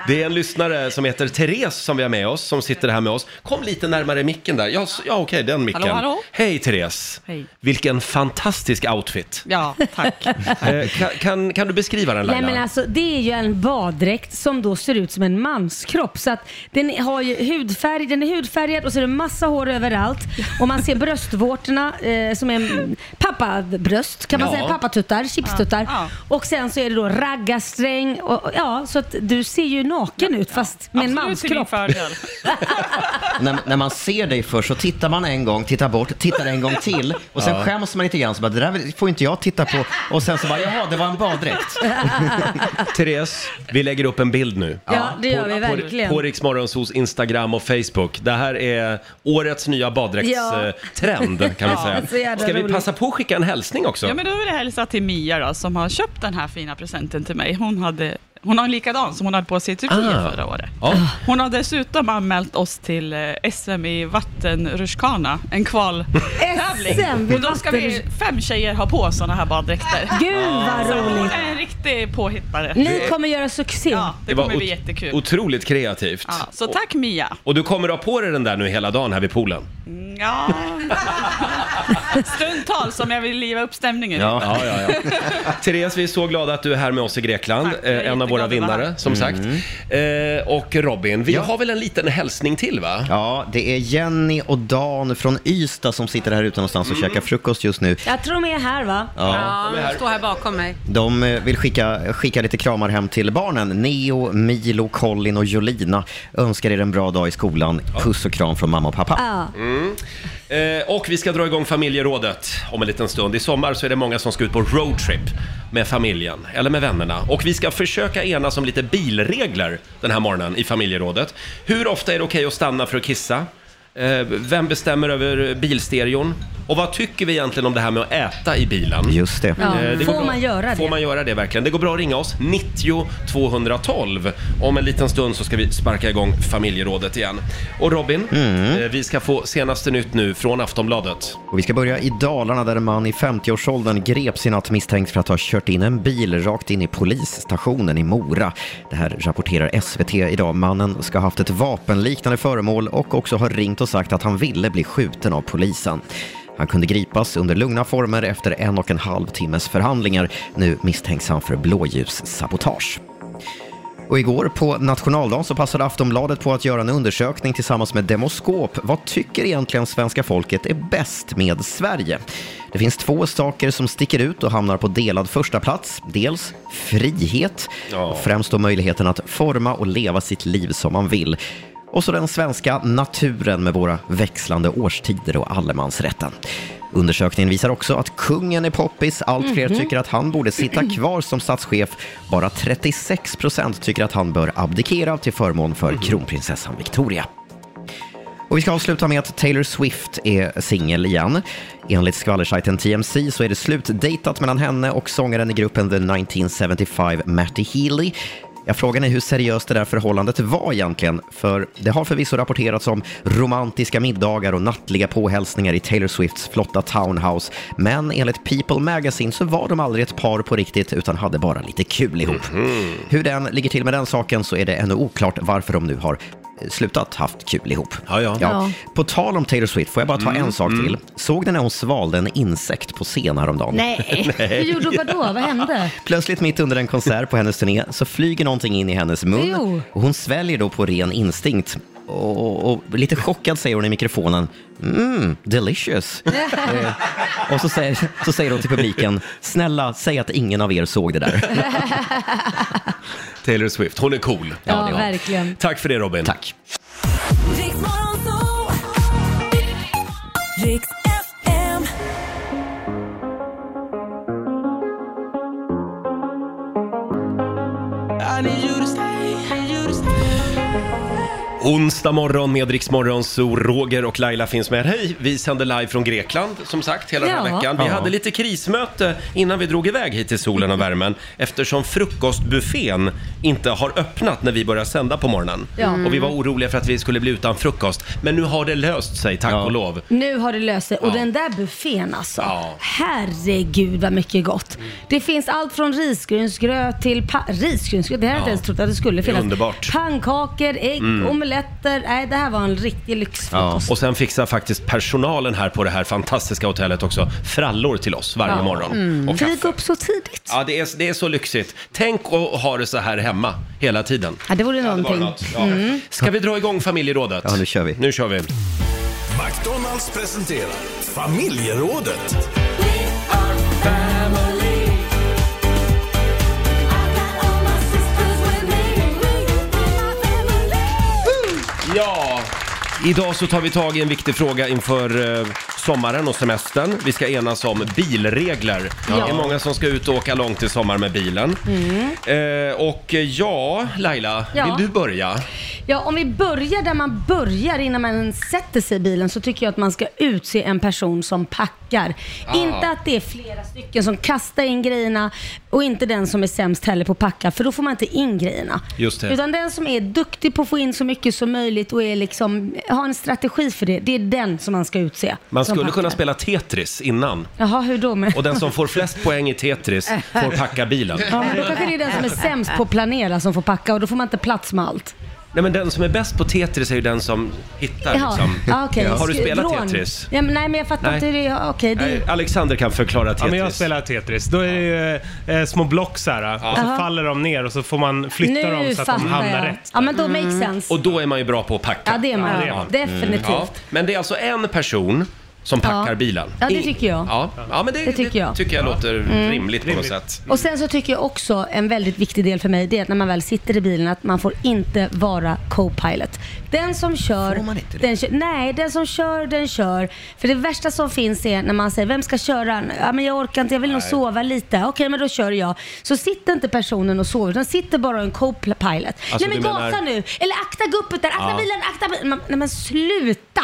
A: Det är en lyssnare som heter Therese som vi har med oss, som sitter här med oss. Kom lite närmare micken där. Ja, s- ja okej, den micken.
E: Hallå, hallå.
A: Hej Therese!
E: Hej.
A: Vilken fantastisk outfit!
E: Ja, tack.
A: Eh, kan, kan, kan du beskriva den Laila?
B: Nej men alltså det är ju en baddräkt som då ser ut som en manskropp. Så att den har ju hudfärg, den är hudfärgad och så är det massa hår överallt. Och man ser bröstvårtorna eh, som är en pappabröst kan man
G: Ja.
B: säga, pappatuttar, chipstuttar. Och sen så är det då raggarsträng och, och ja, så att du ser ju naken ut fast med en manskropp.
C: när, när man ser dig först så tittar man en gång, tittar bort, tittar en gång till och sen
H: Ja.
C: skäms man lite grann. Så bara, det där får inte jag titta på. Och sen så bara, jaha, det var en baddräkt.
A: Therese, vi lägger upp en bild nu.
C: Ja, det gör
A: på,
C: vi verkligen.
A: På, på Riksmorgonsos Instagram och Facebook. Det här är årets nya
R: Ja.
A: baddräktstrend kan vi
R: Ja, så
A: säga.
R: jävla
A: Ska vi
R: roligt.
A: passa på att skicka en hälsning också?
R: Ja, men då vill jag hälsa till Mia då, som har köpt den här fina presenten till mig. Hon, hade, hon har en likadan som hon hade på sig i Turkiet
A: Ah.
R: förra året.
A: Ja.
R: Hon har dessutom anmält oss till eh, SM i vattenrutschkana, en
B: SM
R: kvaltävling.
B: i
R: Och då ska vi
B: vattenrutsch-
R: fem tjejer ha på sådana här baddräkter.
B: Ah, Gud, vad
R: Så Hon
B: roligt.
R: är en riktig påhittare.
B: Ni kommer göra succé.
R: Ja, det,
A: var
R: kommer bli
A: ot-
R: jättekul.
A: Otroligt kreativt.
R: ja, så tack Mia.
A: Och du kommer att ha på dig den där nu hela dagen här vid poolen?
R: Ja. Stundtal som jag vill liva upp stämningen.
A: ja, ja, ja. Therese, vi är så glada att du är här med oss i Grekland. Eh, en av våra vinnare, som sagt. Eh, och Robin, vi
C: Ja.
A: har väl en liten hälsning till va?
C: Ja, det är Jenny och Dan från Ystad som sitter här ute någonstans och
R: Mm.
C: käkar frukost just nu.
B: Jag tror de är här va?
C: Ja.
E: Ja, de står här bakom mig.
C: De eh, vill skicka, skicka lite kramar hem till barnen. Neo, Milo, Colin och Jolina önskar er en bra dag i skolan. Puss och kram från mamma och pappa.
A: Mm. Eh, och vi ska dra igång familjerådet om en liten stund. I sommar så är det många som ska ut på roadtrip med familjen eller med vännerna. Och vi ska försöka enas om lite bilregler den här morgonen i familjerådet. Hur ofta är det okej att stanna för att kissa? Eh, vem bestämmer över bilstereon? Och vad tycker vi egentligen om det här med att äta i bilen? Eh,
C: Just det.
B: Ja,
A: går
B: får
A: bra-
B: man göra
A: Får
B: det?
A: man göra det verkligen? Det går bra att ringa oss, 90 212. Om en liten stund så ska vi sparka igång familjerådet igen. Och Robin, eh, vi ska få senaste nytt nu från Aftonbladet.
C: Och vi ska börja i Dalarna där en man i 50-årsåldern greps i natt misstänkt för att ha kört in en bil rakt in i polisstationen i Mora. Det här rapporterar SVT idag. Mannen ska ha haft ett vapenliknande föremål och också ha ringt och sagt att han ville bli skjuten av polisen. Han kunde gripas under lugna former efter en och en halv timmes förhandlingar. Nu misstänks han för blåljussabotage. Och igår på nationaldagen så passade Aftonbladet på att göra en undersökning tillsammans med Demoskop. Vad tycker egentligen svenska folket är bäst med Sverige? Det finns två saker som sticker ut och hamnar på delad första plats. Dels frihet, och främst då möjligheten att forma och leva sitt liv som man vill. Och så den svenska naturen med våra växlande årstider och allemansrätten. Undersökningen visar också att kungen är poppis. Allt fler
E: Mhm.
C: tycker att han borde sitta kvar som statschef. Bara 36 procent tycker att han bör abdikera till förmån för kronprinsessan Victoria. Och vi ska avsluta med att Taylor Swift är singel igen. Enligt skvallersajten TMC så är det slutdejtat mellan henne och sångaren i gruppen The 1975, Matty Healy. Jag frågar är hur seriöst det där förhållandet var egentligen, för det har förvisso rapporterats om romantiska middagar och nattliga påhälsningar i Taylor Swifts flotta townhouse, men enligt People Magazine så var de aldrig ett par på riktigt utan hade bara lite kul ihop. Hur den ligger till med den saken så är det ännu oklart varför de nu har slutat haft kul ihop.
K: Ja.
C: På tal om Taylor Swift, får jag bara ta
A: Mm,
C: en sak till? Såg ni när hon svalde en insekt på scen häromdagen?
B: Nej. Hur gjorde hon vadå? Vad hände?
C: Plötsligt mitt under en konsert på hennes turné så flyger någonting in i hennes mun
B: Jo.
C: och hon sväljer då på ren instinkt. Och, och, och lite chockad säger hon i mikrofonen “Mm, delicious”. Eh, och så säger, så säger hon till publiken “Snälla, säg att ingen av er såg det där”.
A: Taylor Swift, hon är cool.
K: Ja, det var. verkligen.
A: Tack för det Robin. Tack.
K: Riks FM.
I: I need you to stay, I need you to stay.
A: Onsdag morgon med Rix Morgon, så Roger och Laila finns med. Hej! Vi sänder live från Grekland, som sagt, hela den här
K: Ja.
A: veckan. Vi
K: Ja.
A: hade lite krismöte innan vi drog iväg hit till solen och värmen eftersom frukostbuffén inte har öppnat när vi börjar sända på morgonen.
G: Ja.
A: Och vi var oroliga för att vi skulle bli utan frukost. Men nu har det löst sig, tack och lov.
B: Nu har det löst sig. Och
A: Ja.
B: den där buffén alltså.
A: Ja. Mm.
B: Herregud vad mycket gott. Det finns allt från risgrynsgröt till pa- risgrynsgröt. Det här hade jag
A: Ja.
B: inte ens trott att det skulle
A: Det är
B: finnas.
A: underbart.
B: Pannkakor, ägg,
A: Mm.
B: omeletter. Nej, det här var en riktig lyxfrukost.
A: Och sen fixar faktiskt personalen här på det här fantastiska hotellet också frallor till oss varje
B: Ja.
A: morgon.
B: Mm.
A: Och
B: För vi
A: kaffe.
B: gick upp så tidigt.
A: Ja, det är, det är så lyxigt. Tänk att ha det så här hemma hela tiden.
B: Ja, det vore
A: det var
B: någonting.
A: något. Ja.
B: Mm.
A: Ska vi dra igång familjerådet? Ja, nu kör vi. Nu kör vi.
S: McDonalds presenterar familjerådet.
A: Ja! Idag så tar vi tag i en viktig fråga inför eh, sommaren och semestern. Vi ska enas om bilregler.
K: Ja.
A: Det är många som ska ut och åka långt i sommar med bilen. Eh, och eh, ja, Laila,
B: Mm. Ja.
A: vill du börja?
B: Ja, om vi börjar där man börjar innan man ens sätter sig i bilen så tycker jag att man ska utse en person som packar.
K: Ah.
B: Inte att det är flera stycken som kastar in grejerna och inte den som är sämst heller på att packa för då får man inte in grejerna.
K: Just det.
B: Utan den som är duktig på att få in så mycket som möjligt och är liksom, har en strategi för det, det är den som man ska utse.
A: Man
B: som
A: skulle
B: packar.
A: kunna spela Tetris innan.
B: Jaha, hur då? Med?
A: Och den som får flest poäng i Tetris får packa bilen.
B: Ja, men då kanske det är den som är sämst på att planera som får packa och då får man inte plats med allt.
A: Nej men den som är bäst på Tetris är ju den som hittar
B: Jaha,
A: liksom.
B: ah, okej.
A: Har du
B: Sk-
A: spelat
B: vrån.
A: Tetris?
B: Ja, men, nej, men jag fattar
A: Nej.
B: inte hur det är. Okej, det
A: Nej, Alexander kan förklara Tetris.
F: Ja, men jag spelar Tetris. Då är det ju eh, små block så här, och så
B: Aha.
F: faller de ner och så får man flytta
B: nu
F: dem så att de
B: fattar
F: hamnar
B: jag.
F: rätt.
B: Ja, men då makes
A: Mm.
B: sense.
A: Och då är man ju bra på att packa.
B: Ja, det är man. Definitivt.
A: Men det är alltså en person som packar
B: Ja.
A: bilen.
B: Ja, det tycker jag.
A: Ja, ja men det,
B: Det tycker jag.
A: tycker jag låter
B: Mm.
A: rimligt på något sätt.
B: Och sen så tycker jag också en väldigt viktig del för mig, det är att när man väl sitter i bilen att man får inte vara co-pilot. Den som kör, den kör, nej den som kör, den kör. För det värsta som finns är när man säger, vem ska köra? Ja men jag orkar inte, jag vill nog
K: Nej.
B: sova lite. Okej men då kör jag. Så sitter inte personen och sover, den sitter bara en co-pilot.
A: Alltså,
B: nej men
K: du
B: gasa
K: menar-
B: nu, eller akta guppet där, akta
C: Ja.
B: bilen, akta bilen. Man- Nej men sluta!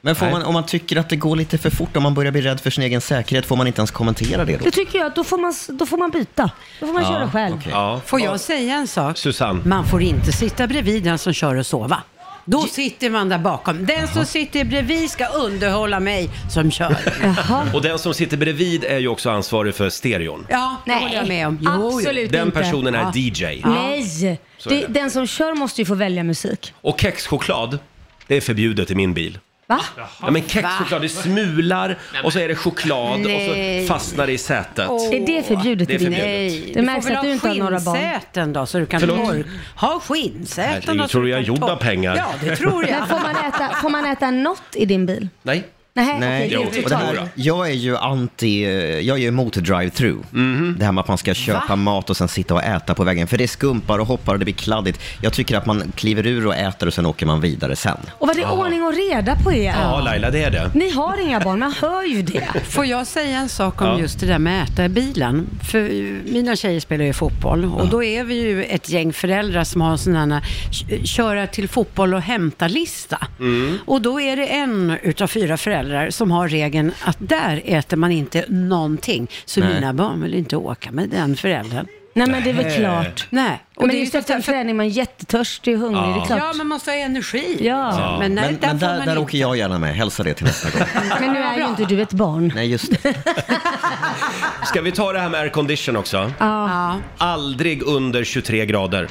C: Men får
B: Nej.
C: man, om man tycker att det går lite för fort, om man börjar bli rädd för sin egen säkerhet, får man inte ens kommentera det då?
B: Då tycker jag att då får man, då får man byta. Då får man
C: Ja,
B: köra själv.
C: okej.
A: Ja.
E: Får jag säga en sak?
A: Susanne.
E: Man får inte sitta bredvid den som kör och sova. Då sitter man där bakom. Den som sitter bredvid ska underhålla mig som kör.
A: Och den som sitter bredvid är ju också ansvarig för stereon.
E: Ja, det
B: Nej, Ah,
E: håller jag med om. Jo, jo.
B: absolut
A: Den
B: inte.
A: personen är
B: Ja.
A: DJ.
B: Nej,
A: Så är
B: det,
A: det.
B: den som kör måste ju få välja musik.
A: Och kexchoklad, det är förbjudet i min bil.
B: Va?
A: Ja, men kexchoklad, det smular och så är det choklad och
E: Nej.
A: så fastnar det i sätet.
B: Är det förbjudet
A: Det är
B: i din
A: förbjudet.
E: Nej,
B: Det märks att du inte har några barn.
E: skinnsäten då så du kan
A: Förlåt?
E: tork. Ha skinnsäten.
A: Herregud,
E: då, så
A: tror du jag
E: kan
A: är gjord av
E: tork-
A: pengar?
E: Ja, det tror jag.
B: Men får man, äta, får man äta något i din bil?
A: Nej.
B: Nej, okej,
C: Jo,
B: det är
C: och det här,
B: totalt.
C: jag är ju anti, jag är ju emot drive-through. Det här med att man ska köpa
B: Va?
C: mat och sen sitta och äta på vägen. För det skumpar och hoppar och det blir kladdigt. Jag tycker att man kliver ur och äter och sen åker man vidare sen.
B: Och vad det är ordning och reda på er.
C: Ja, Laila, det är det.
B: Ni har inga barn, man hör ju det.
E: Får jag säga en sak om
C: Ja.
E: just det där med att äta i bilen? För eh, mina tjejer spelar ju fotboll och då är vi ju ett gäng föräldrar som har en sån här eh, köra till fotboll och hämta-lista.
C: Mm.
A: Mm.
E: Och då är det en utav fyra föräldrar som har regeln att där äter man inte någonting. Så
B: Nej.
E: mina barn vill inte åka med den föräldern.
B: Nej men det är väl
E: Nej.
B: klart.
E: Nej.
B: Och men det är just efter en träning, man är jättetörstig och hungrig,
C: Ja.
B: det är klart.
E: Ja, men man måste ha energi.
B: Ja.
C: Ja, Men,
B: Men nej,
C: men,
B: där får
C: där,
B: man
C: där
B: inte.
C: åker jag gärna med. Hälsa det till nästa gång.
B: Men nu är ju inte du ett barn.
C: Nej, just det.
A: Ska vi ta det här med aircondition också?
B: Ja.
A: Aldrig under 23 grader.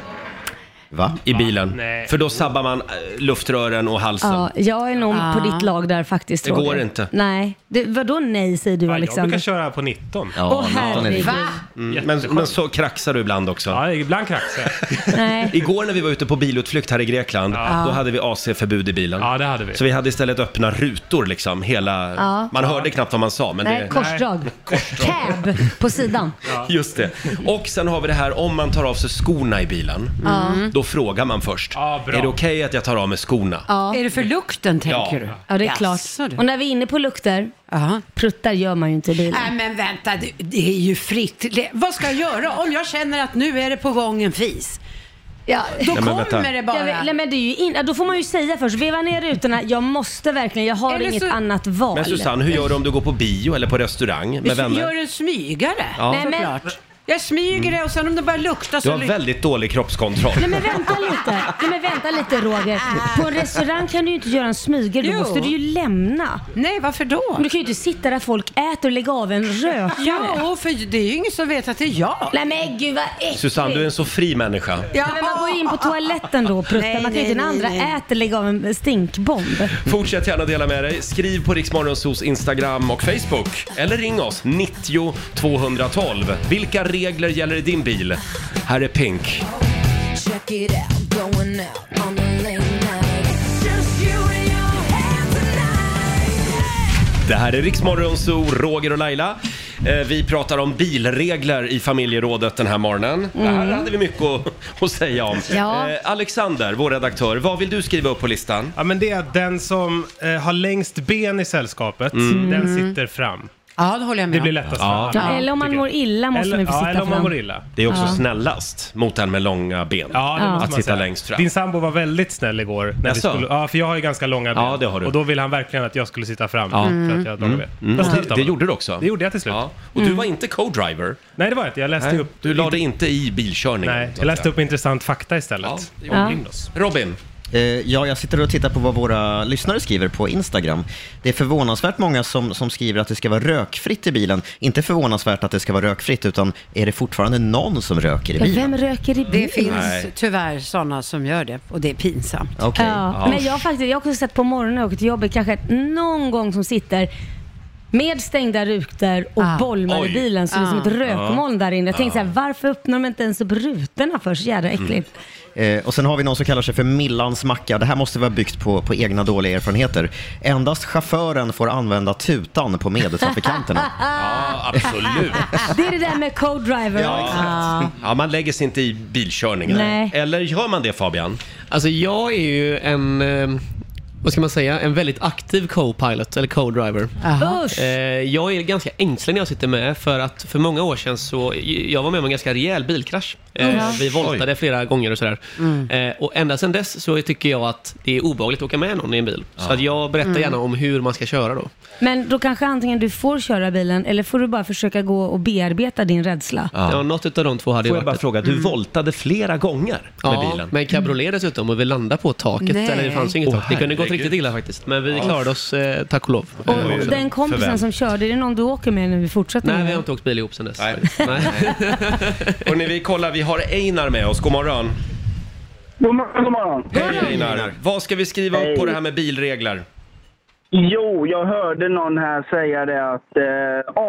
C: Va?
A: I bilen.
F: Nej.
A: För då sabbar man eh, luftrören och halsen.
G: Ja,
B: Ja, jag är nog
G: Ja.
B: på ditt lag där faktiskt.
A: alltså. Det
B: Roger.
A: går inte.
B: Nej, det, vadå nej säger du
F: Jag brukar
B: Alexander?
F: köra på 19.
A: Ja,
B: Åh, 19 är det. herregud. Va?
A: Mm, men, men så kraxar du ibland också.
F: Ja, ibland kraxar
B: Nej.
A: Igår när vi var ute på bilutflykt här i Grekland,
F: Ja.
A: då hade vi AC-förbud i bilen. Ja, det hade vi. Så vi hade istället öppna rutor liksom, hela...
B: Ja.
A: Man hörde knappt vad man sa, men
B: Nej,
A: det...
B: korsdrag. Cab på sidan.
A: Just det. Och sen har vi det här om man tar av sig skorna i bilen. Mm.
E: Ja.
A: Då frågar man först. är det okej att jag tar av mig skorna?
E: Är det för lukten tänker du?
B: Ja, det är klart.
E: Jaså, du.
B: Och när vi är inne på lukter, pruttar gör man ju inte i bilen.
E: Nej Äh, men vänta, det- det är ju fritt. Le- Vad ska jag göra om jag känner att nu är det på gång en fis?
B: Ja.
E: Då
B: Nej, men
E: kommer
B: vänta.
E: det bara.
B: Jag vet- nej, men det är ju in, ja, då får man ju säga först, veva ner rutorna, jag måste verkligen, jag har
E: Eller
B: inget
E: så-
B: annat val.
A: Men Susanne, hur gör du om du går på bio eller på restaurang med
E: Gör
A: vänner?
E: en smygare,
A: Ja. Mm.
E: Nej, men... såklart. Jag smyger det och sen om det börjar lukta
A: Du
E: så...
A: har
E: luk-
A: väldigt dålig kroppskontroll.
B: Nej men vänta lite, nej, men vänta lite Roger. På en restaurang kan du ju inte göra en smyger, då
E: Jo.
B: måste du ju lämna.
E: Nej, varför då?
B: Men du kan ju inte sitta där folk äter och lägga av en rökare.
E: Ja, för det är ju ingen som vet att det är jag.
B: Nej men gud vad äckligt.
A: Susanne, du är en så fri människa.
B: Ja. Men man går ju in på toaletten då och pruttar.
E: Nej,
B: man kan ju inte
E: nej,
B: när andra
E: nej, nej.
B: äter lägga av en stinkbomb.
A: Fortsätt gärna dela med dig. Skriv på Riksmorgonsos Instagram och Facebook. Eller ring oss, 90 212. Vilka regler gäller i din bil? Här är Pink.
K: Check it out, going out on a late night. Just you and your
A: Det här är Riksmorgonso, Roger och Laila. Eh, Vi pratar om bilregler i familjerådet den här morgonen. Det här
K: Mm.
A: hade vi mycket att, att säga om.
K: Ja.
A: Eh, Alexander, vår redaktör, vad vill du skriva upp på listan?
F: Ja, men det är att den som eh, har längst ben i sällskapet,
A: Mm.
F: den
A: Mm.
F: sitter fram.
E: Ja, det håller jag med
F: Det blir
E: om.
F: lättast
A: Ja.
F: för
B: Ja,
F: alla.
B: eller om man mår illa måste
F: Eller-
B: man ju få
F: ja,
B: sitta
F: eller om man
B: fram.
F: mår illa.
A: Det är också
B: Ja.
A: snällast mot den med långa ben.
F: Ja, det måste man
A: att sitta
F: säga.
A: längst fram.
F: Din sambo var väldigt snäll igår. När vi
A: Jaså?
F: skulle, ja, för jag har ju ganska långa ben.
A: Ja, det har du.
F: Och då ville han verkligen att jag skulle sitta fram.
A: Ja.
F: För att jag hade långa ben.
A: Mm.
F: Jag
A: Och
F: slutade
A: Det, det
F: med
A: gjorde du också?
F: Det gjorde jag till slut.
A: Och
T: Mm.
A: du var inte co-driver?
F: Nej, det var jag inte. Jag läste
A: Nej,
F: upp...
A: Du la dig inte i bilkörningen?
F: Nej,
A: så
F: jag
A: att
F: läste
A: säga.
F: upp intressant fakta istället.
A: det gjorde Ja. du. Robin?
C: Eh, Ja, jag sitter och tittar på vad våra lyssnare skriver på Instagram. Det är förvånansvärt många som, som skriver att det ska vara rökfritt i bilen. Inte förvånansvärt att det ska vara rökfritt, utan är det fortfarande någon som röker i bilen?
B: Vem röker i bilen?
E: Det finns
C: Nej.
E: tyvärr sådana som gör det och det är pinsamt.
C: Okej.
B: Ja.
C: Ja.
B: Men jag har faktiskt, jag har också sett på morgonen när jag åker till jobbet kanske att någon gång som sitter med stängda rutor och
E: Ah.
B: bolmar
K: Oj.
B: i bilen så det är som
K: Ah.
B: ett rökmoln där inne. Jag tänkte
C: Ah. Mm.
B: så här, varför öppnar de inte ens upp rutorna för? Så jädra äckligt.
C: Eh, och sen har vi någon som kallar sig för Millans macka. Det här måste vara byggt på, på egna dåliga erfarenheter. Endast chauffören får använda tutan på medtrafikanterna.
A: Ja, absolut.
B: Det är det där med co-driver.
A: Ja, exakt.
B: Ah.
A: Ja, man lägger sig inte i bilkörningen.
B: Nej.
A: Eller gör man det Fabian?
T: Alltså jag är ju en, eh, vad ska man säga, en väldigt aktiv co-pilot eller co-driver.
B: Aha. Usch.
T: Eh, Jag är ganska ängslig när jag sitter med för att för många år sedan så, jag var med om en ganska rejäl bilkrasch. Eh,
K: Usch.
T: Vi voltade flera gånger och sådär.
K: Mm.
T: Eh, Och ända sedan dess så tycker jag att det är obehagligt att åka med någon i en bil. Så att jag berättar
B: Mm.
T: gärna om hur man ska köra då.
B: Men då kanske antingen du får köra bilen eller får du bara försöka gå och bearbeta din rädsla.
T: Ja. något utav de två hade
A: Får
T: ju
A: jag
T: varit
A: bara
T: ett-
A: fråga, du
T: Mm.
A: voltade flera gånger
T: Ja,
A: med bilen?
T: med en cabriolet dessutom och vi landade på taket.
B: Nej.
T: Eller det fanns ju inget
A: Åh,
T: tak. Det kunde gått
A: herregud.
T: riktigt illa faktiskt. Men vi
A: Ja.
T: klarade oss, eh, tack och lov. Eh,
B: Och den kompisen som körde, är det någon du åker med när vi fortsätter
T: Nej,
B: med
T: vi har
B: det?
T: inte åkt bil ihop sedan dess. Nej.
A: Och när vi kollar, vi har Einar med oss. God morgon.
U: God morgon, god morgon.
A: Hej Einar. Vad ska vi skriva upp på det här med bilregler?
U: Jo, jag hörde någon här säga det att eh,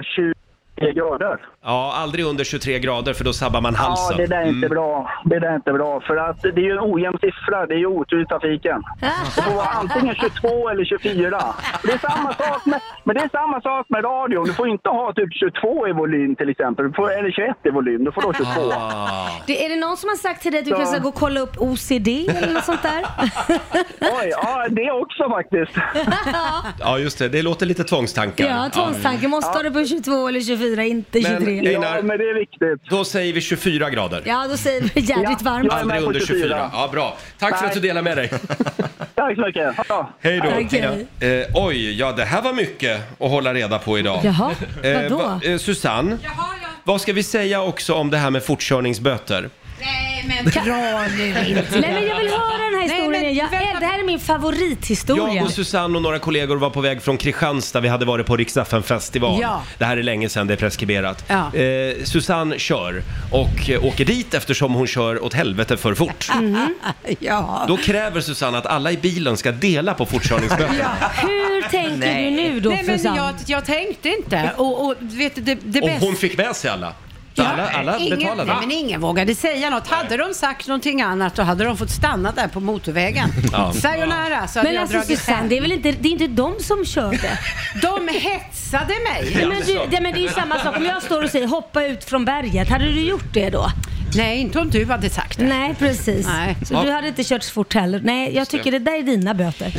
U: AC 20 23 grader.
A: Ja, aldrig under 23 grader för då sabbar man
U: Ja,
A: halsen.
U: det där är inte
A: Mm.
U: bra. Det där är inte bra. För att det är ju en ojämn siffra. Det är ju otur i trafiken. Det får vara antingen 22 eller 24. Det är samma sak med, men det är samma sak med radion. Du får inte ha typ 22 i volym till exempel. Du får, eller 21 i volym. Du får då 22.
A: Ah.
B: Det, är det någon som har sagt till dig att du
U: Ja.
B: kanske ska gå och kolla upp OCD eller något sånt där?
U: Oj, ja det också faktiskt.
A: Ja, just det. Det låter lite tvångstankar.
B: ja, tvångstanke. Måste ha det på 22 eller 24, inte 23.
A: Men Einar,
U: men det är viktigt.
A: då säger vi 24 grader.
B: Ja, då säger vi jädrigt varmt.
A: Aldrig under 24. Ja, bra. Tack för
U: Nej.
A: att du delade med dig.
U: Tack så mycket. Ha det bra.
A: Hej då.
U: Tack, hej.
A: Eh, oj, ja det här var mycket att hålla reda på idag.
U: Jaha,
G: vadå?
A: va- eh, Susanne, vad ska vi säga också om det här med fortkörningsböter?
G: Nej men dra nu inte.
B: Nej, men jag vill höra den här historien. jag, är, det här är min favorithistoria.
A: Jag och Susanne och några kollegor var på väg från Kristianstad. Vi hade varit på Riksdagen festival.
B: Ja.
A: Det här är länge sedan, det är preskriberat.
B: Ja.
A: Eh, Susanne kör och eh, åker dit eftersom hon kör åt helvete för fort.
B: Mhm.
E: Ja.
A: Då kräver Susanne att alla i bilen ska dela på fortkörningsböterna.
B: Hur tänker
E: Nej.
B: du nu då
E: Nej, men
B: Susanne?
E: jag, jag tänkte inte. Och, och vet du, det, det
A: Och
E: bästa...
A: hon fick med sig alla. Så alla alla
E: eh, ingen,
A: betalade.
E: Nej, men ingen vågade säga något. Hade de sagt någonting annat då hade de fått stanna där på motorvägen.
A: Ja.
E: Sayonara, så hade
B: Men
E: jag
B: alltså
E: dragit
B: Susanne,
E: hem.
B: det är väl inte, det är inte de som körde?
E: De hetsade mig.
B: Nej, men, du, nej, men det är ju samma sak. Om jag står och säger hoppa ut från berget, hade du gjort det då?
E: Nej, inte om du hade sagt det.
B: Nej, precis. Så
A: Ja.
B: du hade inte kört så fort heller. Nej, jag
A: Just
B: tycker
A: det.
B: det där är dina böter.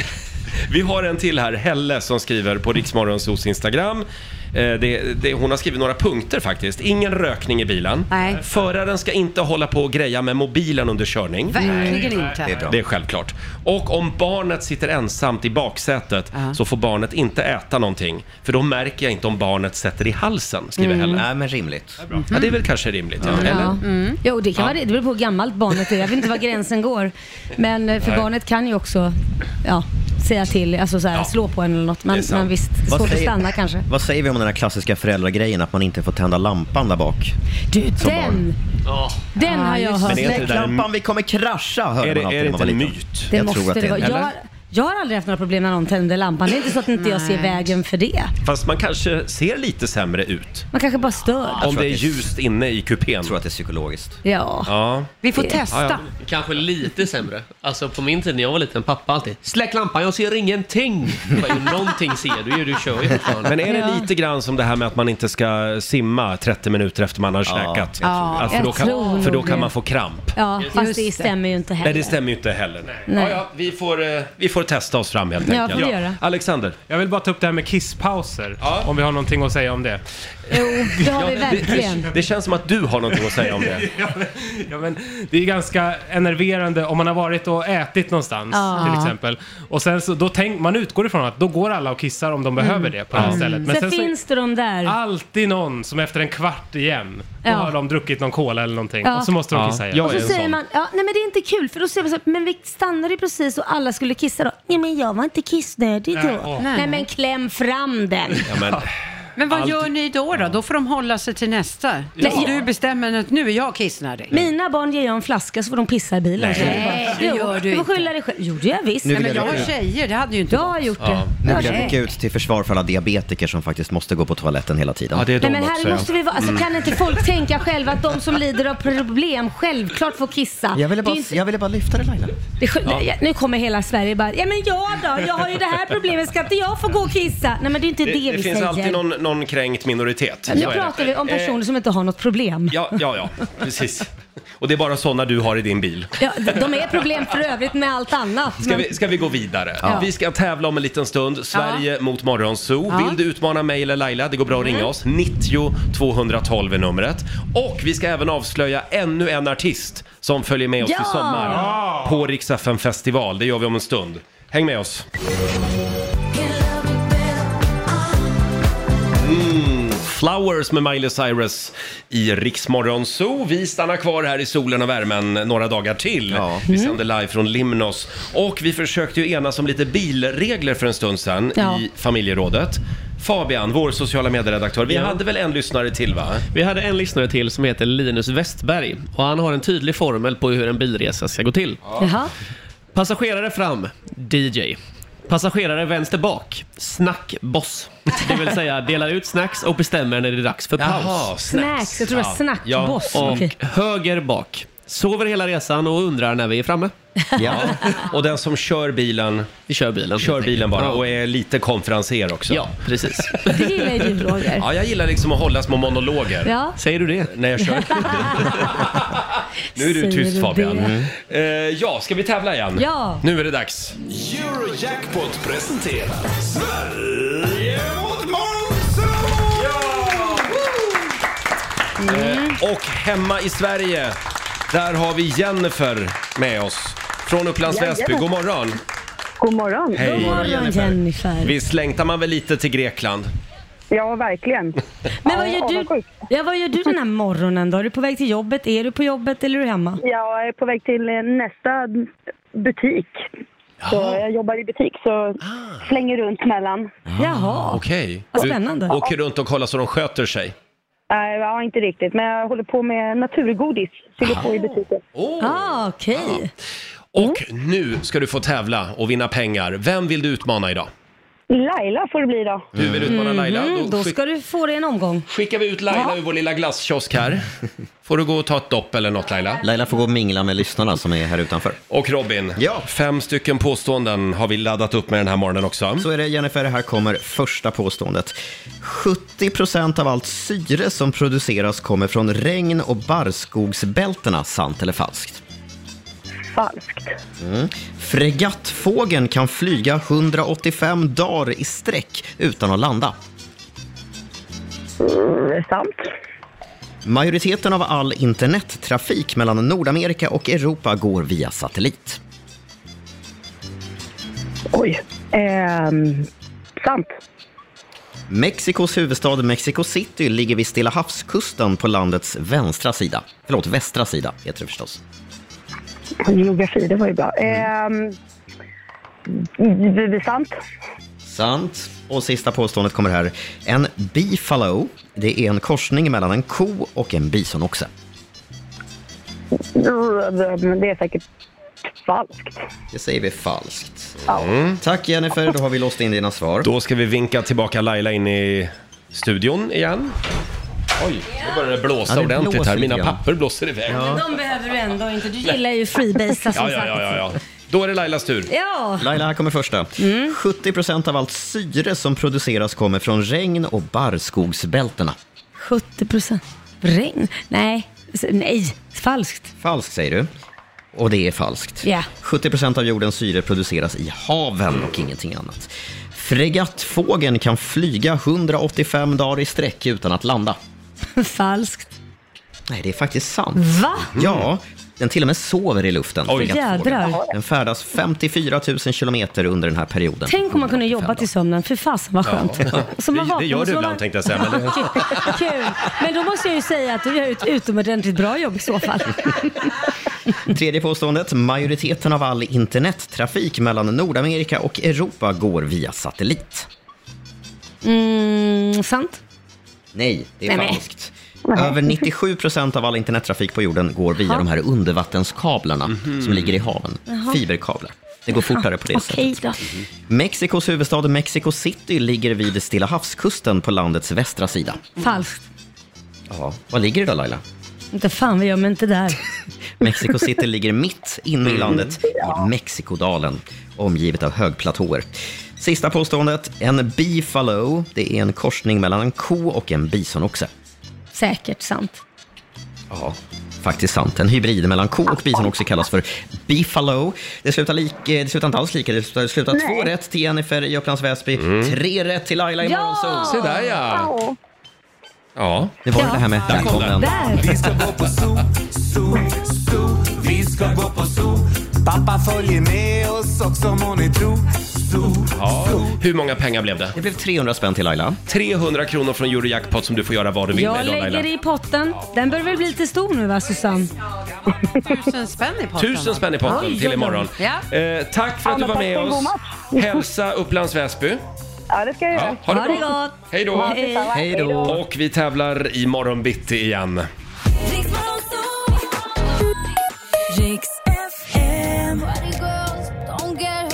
A: Vi har en till här, Helle, som skriver på Riksmorgonsos Instagram. Eh, det, det, hon har skrivit några punkter faktiskt. Ingen rökning i bilen.
E: Nej.
A: Föraren ska inte hålla på och greja med mobilen under körning.
E: Verkligen Nej. inte.
A: Det är, bra. Det är självklart. Och om barnet sitter ensamt i baksätet så får barnet inte äta någonting. För då märker jag inte om barnet sätter i halsen, skriver
E: Mm.
A: Helle.
E: Nej,
C: men rimligt.
A: Ja, det är väl kanske rimligt. Ja.
B: Ja.
A: Eller?
B: Mm. Jo, det kan
A: Ja.
B: vara det. Det beror på hur gammalt barnet är. Jag vet inte var gränsen går. Men eh, för
A: Nej.
B: barnet kan ju också ja, säga till, alltså så här, slå på en eller något.
C: Det
B: Men,
C: är sant.
B: men visst,
C: Vad
B: svårt att
C: säger-
B: stanna kanske.
C: Vad säger vi om den här klassiska föräldragrejen att man inte får tända lampan där bak?
B: Du, den! Den har jag hört.
C: Släck lampan, vi kommer krascha, hörde
A: Är det-
C: man alltid
A: är det
C: när man var
A: inte en
C: liten.
A: myt?
B: Det
C: Jag
B: måste
C: tror att
B: det
C: det
B: vara.
C: är en-
B: Jag, jag har aldrig haft några problem när någon tänder lampan. Det är inte så att inte jag ser
A: Nej.
B: vägen för det.
A: Fast man kanske ser lite sämre ut.
B: Man kanske bara stör.
A: Om det är ljust inne i kupén. Jag tror att det är psykologiskt.
B: Ja.
A: Ja.
B: Vi får testa.
A: Ja, ja.
T: Kanske lite sämre. Alltså på min tid när jag var liten, pappa alltid “Släck lampan, jag ser ingenting!” Jag bara, "Jo, Någonting ser du ju, du kör ju fortfarande.
A: Men är det lite grann som det här med att man inte ska simma 30 minuter efter man har käkat?
B: tror
A: för,
B: det.
A: då
B: Jag tror
A: kan,
B: nog
A: för då
B: det.
A: kan man få kramp.
B: Ja, fast
A: Just
B: det stämmer ju inte heller.
A: Nej, det stämmer ju inte heller.
B: Nej.
A: Ja, ja, vi, får, eh, vi får testa oss fram helt
B: Ja,
A: enkelt.
B: får vi göra.
A: Alexander?
F: Jag vill bara ta upp det här med kisspauser, om vi har någonting att säga om det.
B: Jo, det har vi
A: Ja, det-
B: verkligen.
A: Det känns som att du har någonting att säga om det.
F: ja, men det är ganska enerverande om man har varit och ätit någonstans
B: Ja.
F: till exempel. Och sen så, då tänk, man utgår ifrån att då går alla och kissar om de behöver det på det här stället. Men
B: Mm. Sen,
F: sen så
B: finns det de där.
F: alltid någon som efter en kvart igen, då
B: Ja.
F: har de druckit någon cola eller någonting
B: Ja.
F: och så måste de
A: Ja,
F: kissa igen.
A: jag
B: Och så säger man, ja, nej men det är inte kul för då säger man så här, men vi stannade ju precis och alla skulle kissa då. Nej men jag var inte kissnödig
E: Nej,
B: då.
E: åh.
B: Nej, men kläm fram den.
A: Ja, men,
E: Men vad
A: Allt-
E: gör ni då? Då, då får de hålla sig till nästa.
B: Ja.
E: Tills Du bestämmer att nu är jag kissnödig.
B: Mina barn ger jag en flaska så får de pissa i bilen.
E: Nej.
B: Så jag bara,
E: Nej, det
B: jo,
E: gör du
B: Du får
E: inte.
B: skylla dig själv. Gjorde jag visst.
C: Nu vill Nej, men jag jag är rycka
E: tjejer, det hade ju inte
B: Jag har gjort det.
C: Ja. Nu
B: Jag
C: vill jag
B: har
C: rycka
B: tjejer.
C: ut till försvar för alla diabetiker som faktiskt måste gå på toaletten hela tiden.
B: Nej, men här måste vi vara, alltså,
C: Mm.
B: kan inte folk tänka själva att de som lider av problem självklart får kissa?
C: Jag ville
B: Det är
C: bara,
B: inte-
C: jag ville bara lyfta det Laila.
B: Det är skönt.
C: Ja.
B: Nej, Nu kommer hela Sverige bara, ja men jag då, jag har ju det här problemet, ska inte jag få gå och kissa? Nej men det är inte det,
A: det,
B: vi
A: det finns
B: säger.
A: alltid någon, någon kränkt minoritet.
B: Nu
A: Så är det.
B: pratar vi om
A: Eh,
B: personer som inte har något problem.
A: Ja, ja, ja, precis. Och det är bara sådana du har i din bil.
B: Ja, d- de är problem för övrigt med allt annat.
A: Ska
B: men-
A: vi, ska vi gå vidare?
B: Ja.
A: Vi ska tävla om en liten stund. Sverige mot Morgonzoo.
B: Ja. Mm.
A: Vill du utmana mig eller Laila? Det går bra att ringa oss. 90 212 är numret. Och vi ska även avslöja ännu en artist som följer med oss
S: Ja!
A: i sommar
S: Ja!
A: på Rix FM festival. Det gör vi om en stund. Häng med oss. Mm, Flowers med Miley Cyrus i Riksmorgon Zoo. Vi stannar kvar här i solen och värmen några dagar till. Vi
T: Mm.
A: sänder live från Limnos. Och vi försökte ju enas om lite bilregler för en stund sedan
T: Ja.
A: i familjerådet. Fabian, vår sociala medieredaktör, vi
T: Ja.
A: hade väl en lyssnare till va?
T: Vi hade en lyssnare till som heter Linus Westberg och han har en tydlig formel på hur en bilresa ska gå till.
B: Jaha.
T: Passagerare fram, DJ. Passagerare vänster bak. Snackboss. Det vill säga delar ut snacks och bestämmer när det är dags för
A: Jaha,
T: paus.
B: Snacks. Jag tror det var snackboss.
T: Och
B: Okej.
T: höger bak. Sover hela resan och undrar när vi är framme.
A: Ja. Och den som kör bilen...
T: Vi kör bilen.
A: Kör bilen bara
T: Ja.
A: och är lite konferenser också.
T: Ja, precis.
G: Det gillar ju du Roger.
A: Ja, jag gillar liksom att hålla små monologer.
G: Ja.
T: Säger du det?
A: När jag kör. Nu är du
G: Säger
A: tyst
G: du
A: Fabian.
G: det? Mm.
A: Eh, ja, ska vi tävla igen?
G: Ja.
A: Nu är det dags.
S: Eurojackpot presenterar Sverige mot Måns!
A: Eh, och hemma i Sverige, där har vi Jennifer med oss. Från Upplands
D: Jajamän.
A: Väsby. God morgon.
D: God morgon.
A: Hej. God morgon, Jennifer.
D: Jennifer.
A: Visst längtar man väl lite till Grekland?
D: Ja, verkligen.
B: Men vad gör, du, ja, vad gör du den här morgonen då? Är du på väg till jobbet? Är du på jobbet eller är du hemma?
D: Jag är på väg till eh, nästa butik. Så jag jobbar i butik, så slänger runt mellan.
B: Ah. Jaha.
A: Okej.
D: Vad
A: Du
D: spännande.
A: åker runt och kollar så de sköter sig.
D: Nej, ja, inte riktigt. Men jag håller på med naturgodis. Fyller på i butiken.
B: Ah, okej.
A: Och
G: Mm.
A: nu ska du få tävla och vinna pengar. Vem vill du utmana idag?
D: Laila får det bli då.
A: Du vill utmana Laila.
B: Mhm,
A: Då
B: då
A: skick-
B: ska du få dig en omgång.
A: skickar vi ut Laila ur vår lilla glasskiosk här. Får du gå och ta ett dopp eller något Laila?
C: Laila får gå och mingla med lyssnarna som är här utanför.
A: Och Robin, fem stycken påståenden har vi laddat upp med den här morgonen också.
C: Så är det Jennifer, här kommer första påståendet. 70% av allt syre som produceras kommer från regn och barrskogsbältena, sant eller falskt?
D: Falskt.
C: Mm. Fregattfågeln kan flyga 185 dagar i sträck utan att landa.
D: Mm, sant.
C: Majoriteten av all internettrafik mellan Nordamerika och Europa går via satellit.
D: Oj. Ehm, sant.
C: Mexikos huvudstad Mexico City ligger vid Stilla havskusten på landets vänstra sida. Förlåt, västra sida heter det förstås.
D: Geografi, det var ju bra.
B: Mm.
D: Ehm, det är sant.
C: Sant. Och sista påståendet kommer här. En bifalo, det är en korsning mellan en ko och en bisonoxe.
D: Men Det är säkert falskt.
C: Det säger vi falskt. Tack Jennifer, då har vi låst in dina svar.
A: Mm. Då ska vi vinka tillbaka Laila in i studion igen. Oj, nu börjar det blåsa
C: Ja, det
A: ordentligt
C: blåser
A: här.
C: lite
A: Mina
C: grann.
A: papper blåser iväg.
B: Men de behöver du ändå inte. Du gillar ju freebasea som
A: Ja, ja, ja,
B: sagt.
A: ja, ja. Då är det Lailas tur.
B: Ja.
C: Ah. Laila, här kommer första.
B: Mm.
C: 70% av allt syre som produceras kommer från regn och barrskogsbältena.
B: 70 procent. Regn? Nej. S- Nej, falskt.
C: Falskt säger du. Och det är falskt.
B: Ja.
C: 70% av jordens syre produceras i haven och ingenting annat. Fregattfågeln kan flyga 185 dagar i sträck utan att landa.
B: falskt.
C: Nej, det är faktiskt sant.
B: Va?
C: Ja, den till och med sover i luften.
B: Oj.
C: fregattfågeln.
B: Jädrar.
C: Den färdas 54 000 kilometer under den här perioden.
B: Tänk om man kunde jobba till sömnen. Fy fasen vad skönt.
C: Ja.
B: Så man
C: Det- det
B: vaknar
C: gör
B: och
C: du
B: så
C: ibland,
B: man-
C: tänkte jag säga, men det-
B: Kul. Men då måste jag ju säga att du gör ett utomordentligt bra jobb i så fall.
C: Tredje påståendet. Majoriteten av all internettrafik mellan Nordamerika och Europa går via satellit.
B: Mm, sant?
C: Nej, det
B: Nej,
C: är
B: men.
C: falskt. Över 97 procent av all internettrafik på jorden går via
B: Jaha.
C: de här undervattenskablarna som ligger i haven.
B: Jaha.
C: Fiberkablar. Det går fortare på det
B: Okej
C: sättet. Mhm.
B: då.
C: Mexikos huvudstad Mexico City ligger vid Stilla havskusten på landets västra sida.
B: Falskt.
C: Ja, var ligger det då Laila?
B: Inte fan vad gör man inte där.
C: Mexico City ligger mitt inne
A: Mm.
C: i landet, i Mexikodalen, omgivet av högplatåer. Sista påståendet. En bifalo, det är en korsning mellan en ko och en bisonoxe.
B: Säkert sant.
C: Ja, faktiskt sant. En hybrid mellan ko och bison också kallas för bifalo. Det slutar, lik, eh, det slutar inte alls lika. Det slutar, det slutar
B: Nej.
C: två rätt till Jennifer i Upplands Väsby,
A: Mm.
C: tre rätt till Laila i
B: Ja!
C: Morgonzoo.
B: Se där, ja. Ja.
A: Ja.
C: Det var det här med
A: Där kom den.
I: Vi ska gå på zoo, zoo, zoo. Vi ska gå på zoo. Pappa följer med oss också må ni tro.
A: Ja. Hur många pengar blev det?
C: Det blev 300 spänn till Laila.
A: 300 kronor från Eurojackpot som du får göra vad du vill med
B: Jag
A: idag Laila.
B: lägger i potten. Den bör väl bli lite stor nu va Susanne?
E: Tusen spänn i potten.
A: Tusen spänn i potten
E: Oj,
A: till
E: oj,
A: imorgon.
E: oj. Ja.
A: Eh, tack för att du
E: Ja, men
A: var
E: tack
A: med
E: för en god
A: oss.
E: match.
A: Hälsa Upplands Väsby.
D: Ja, det ska jag göra.
A: ha det Ha det bra.
D: gott.
A: Hej då.
D: Hej då.
A: Och vi tävlar imorgon bitti igen.
K: Riks FM. Party girls, don't get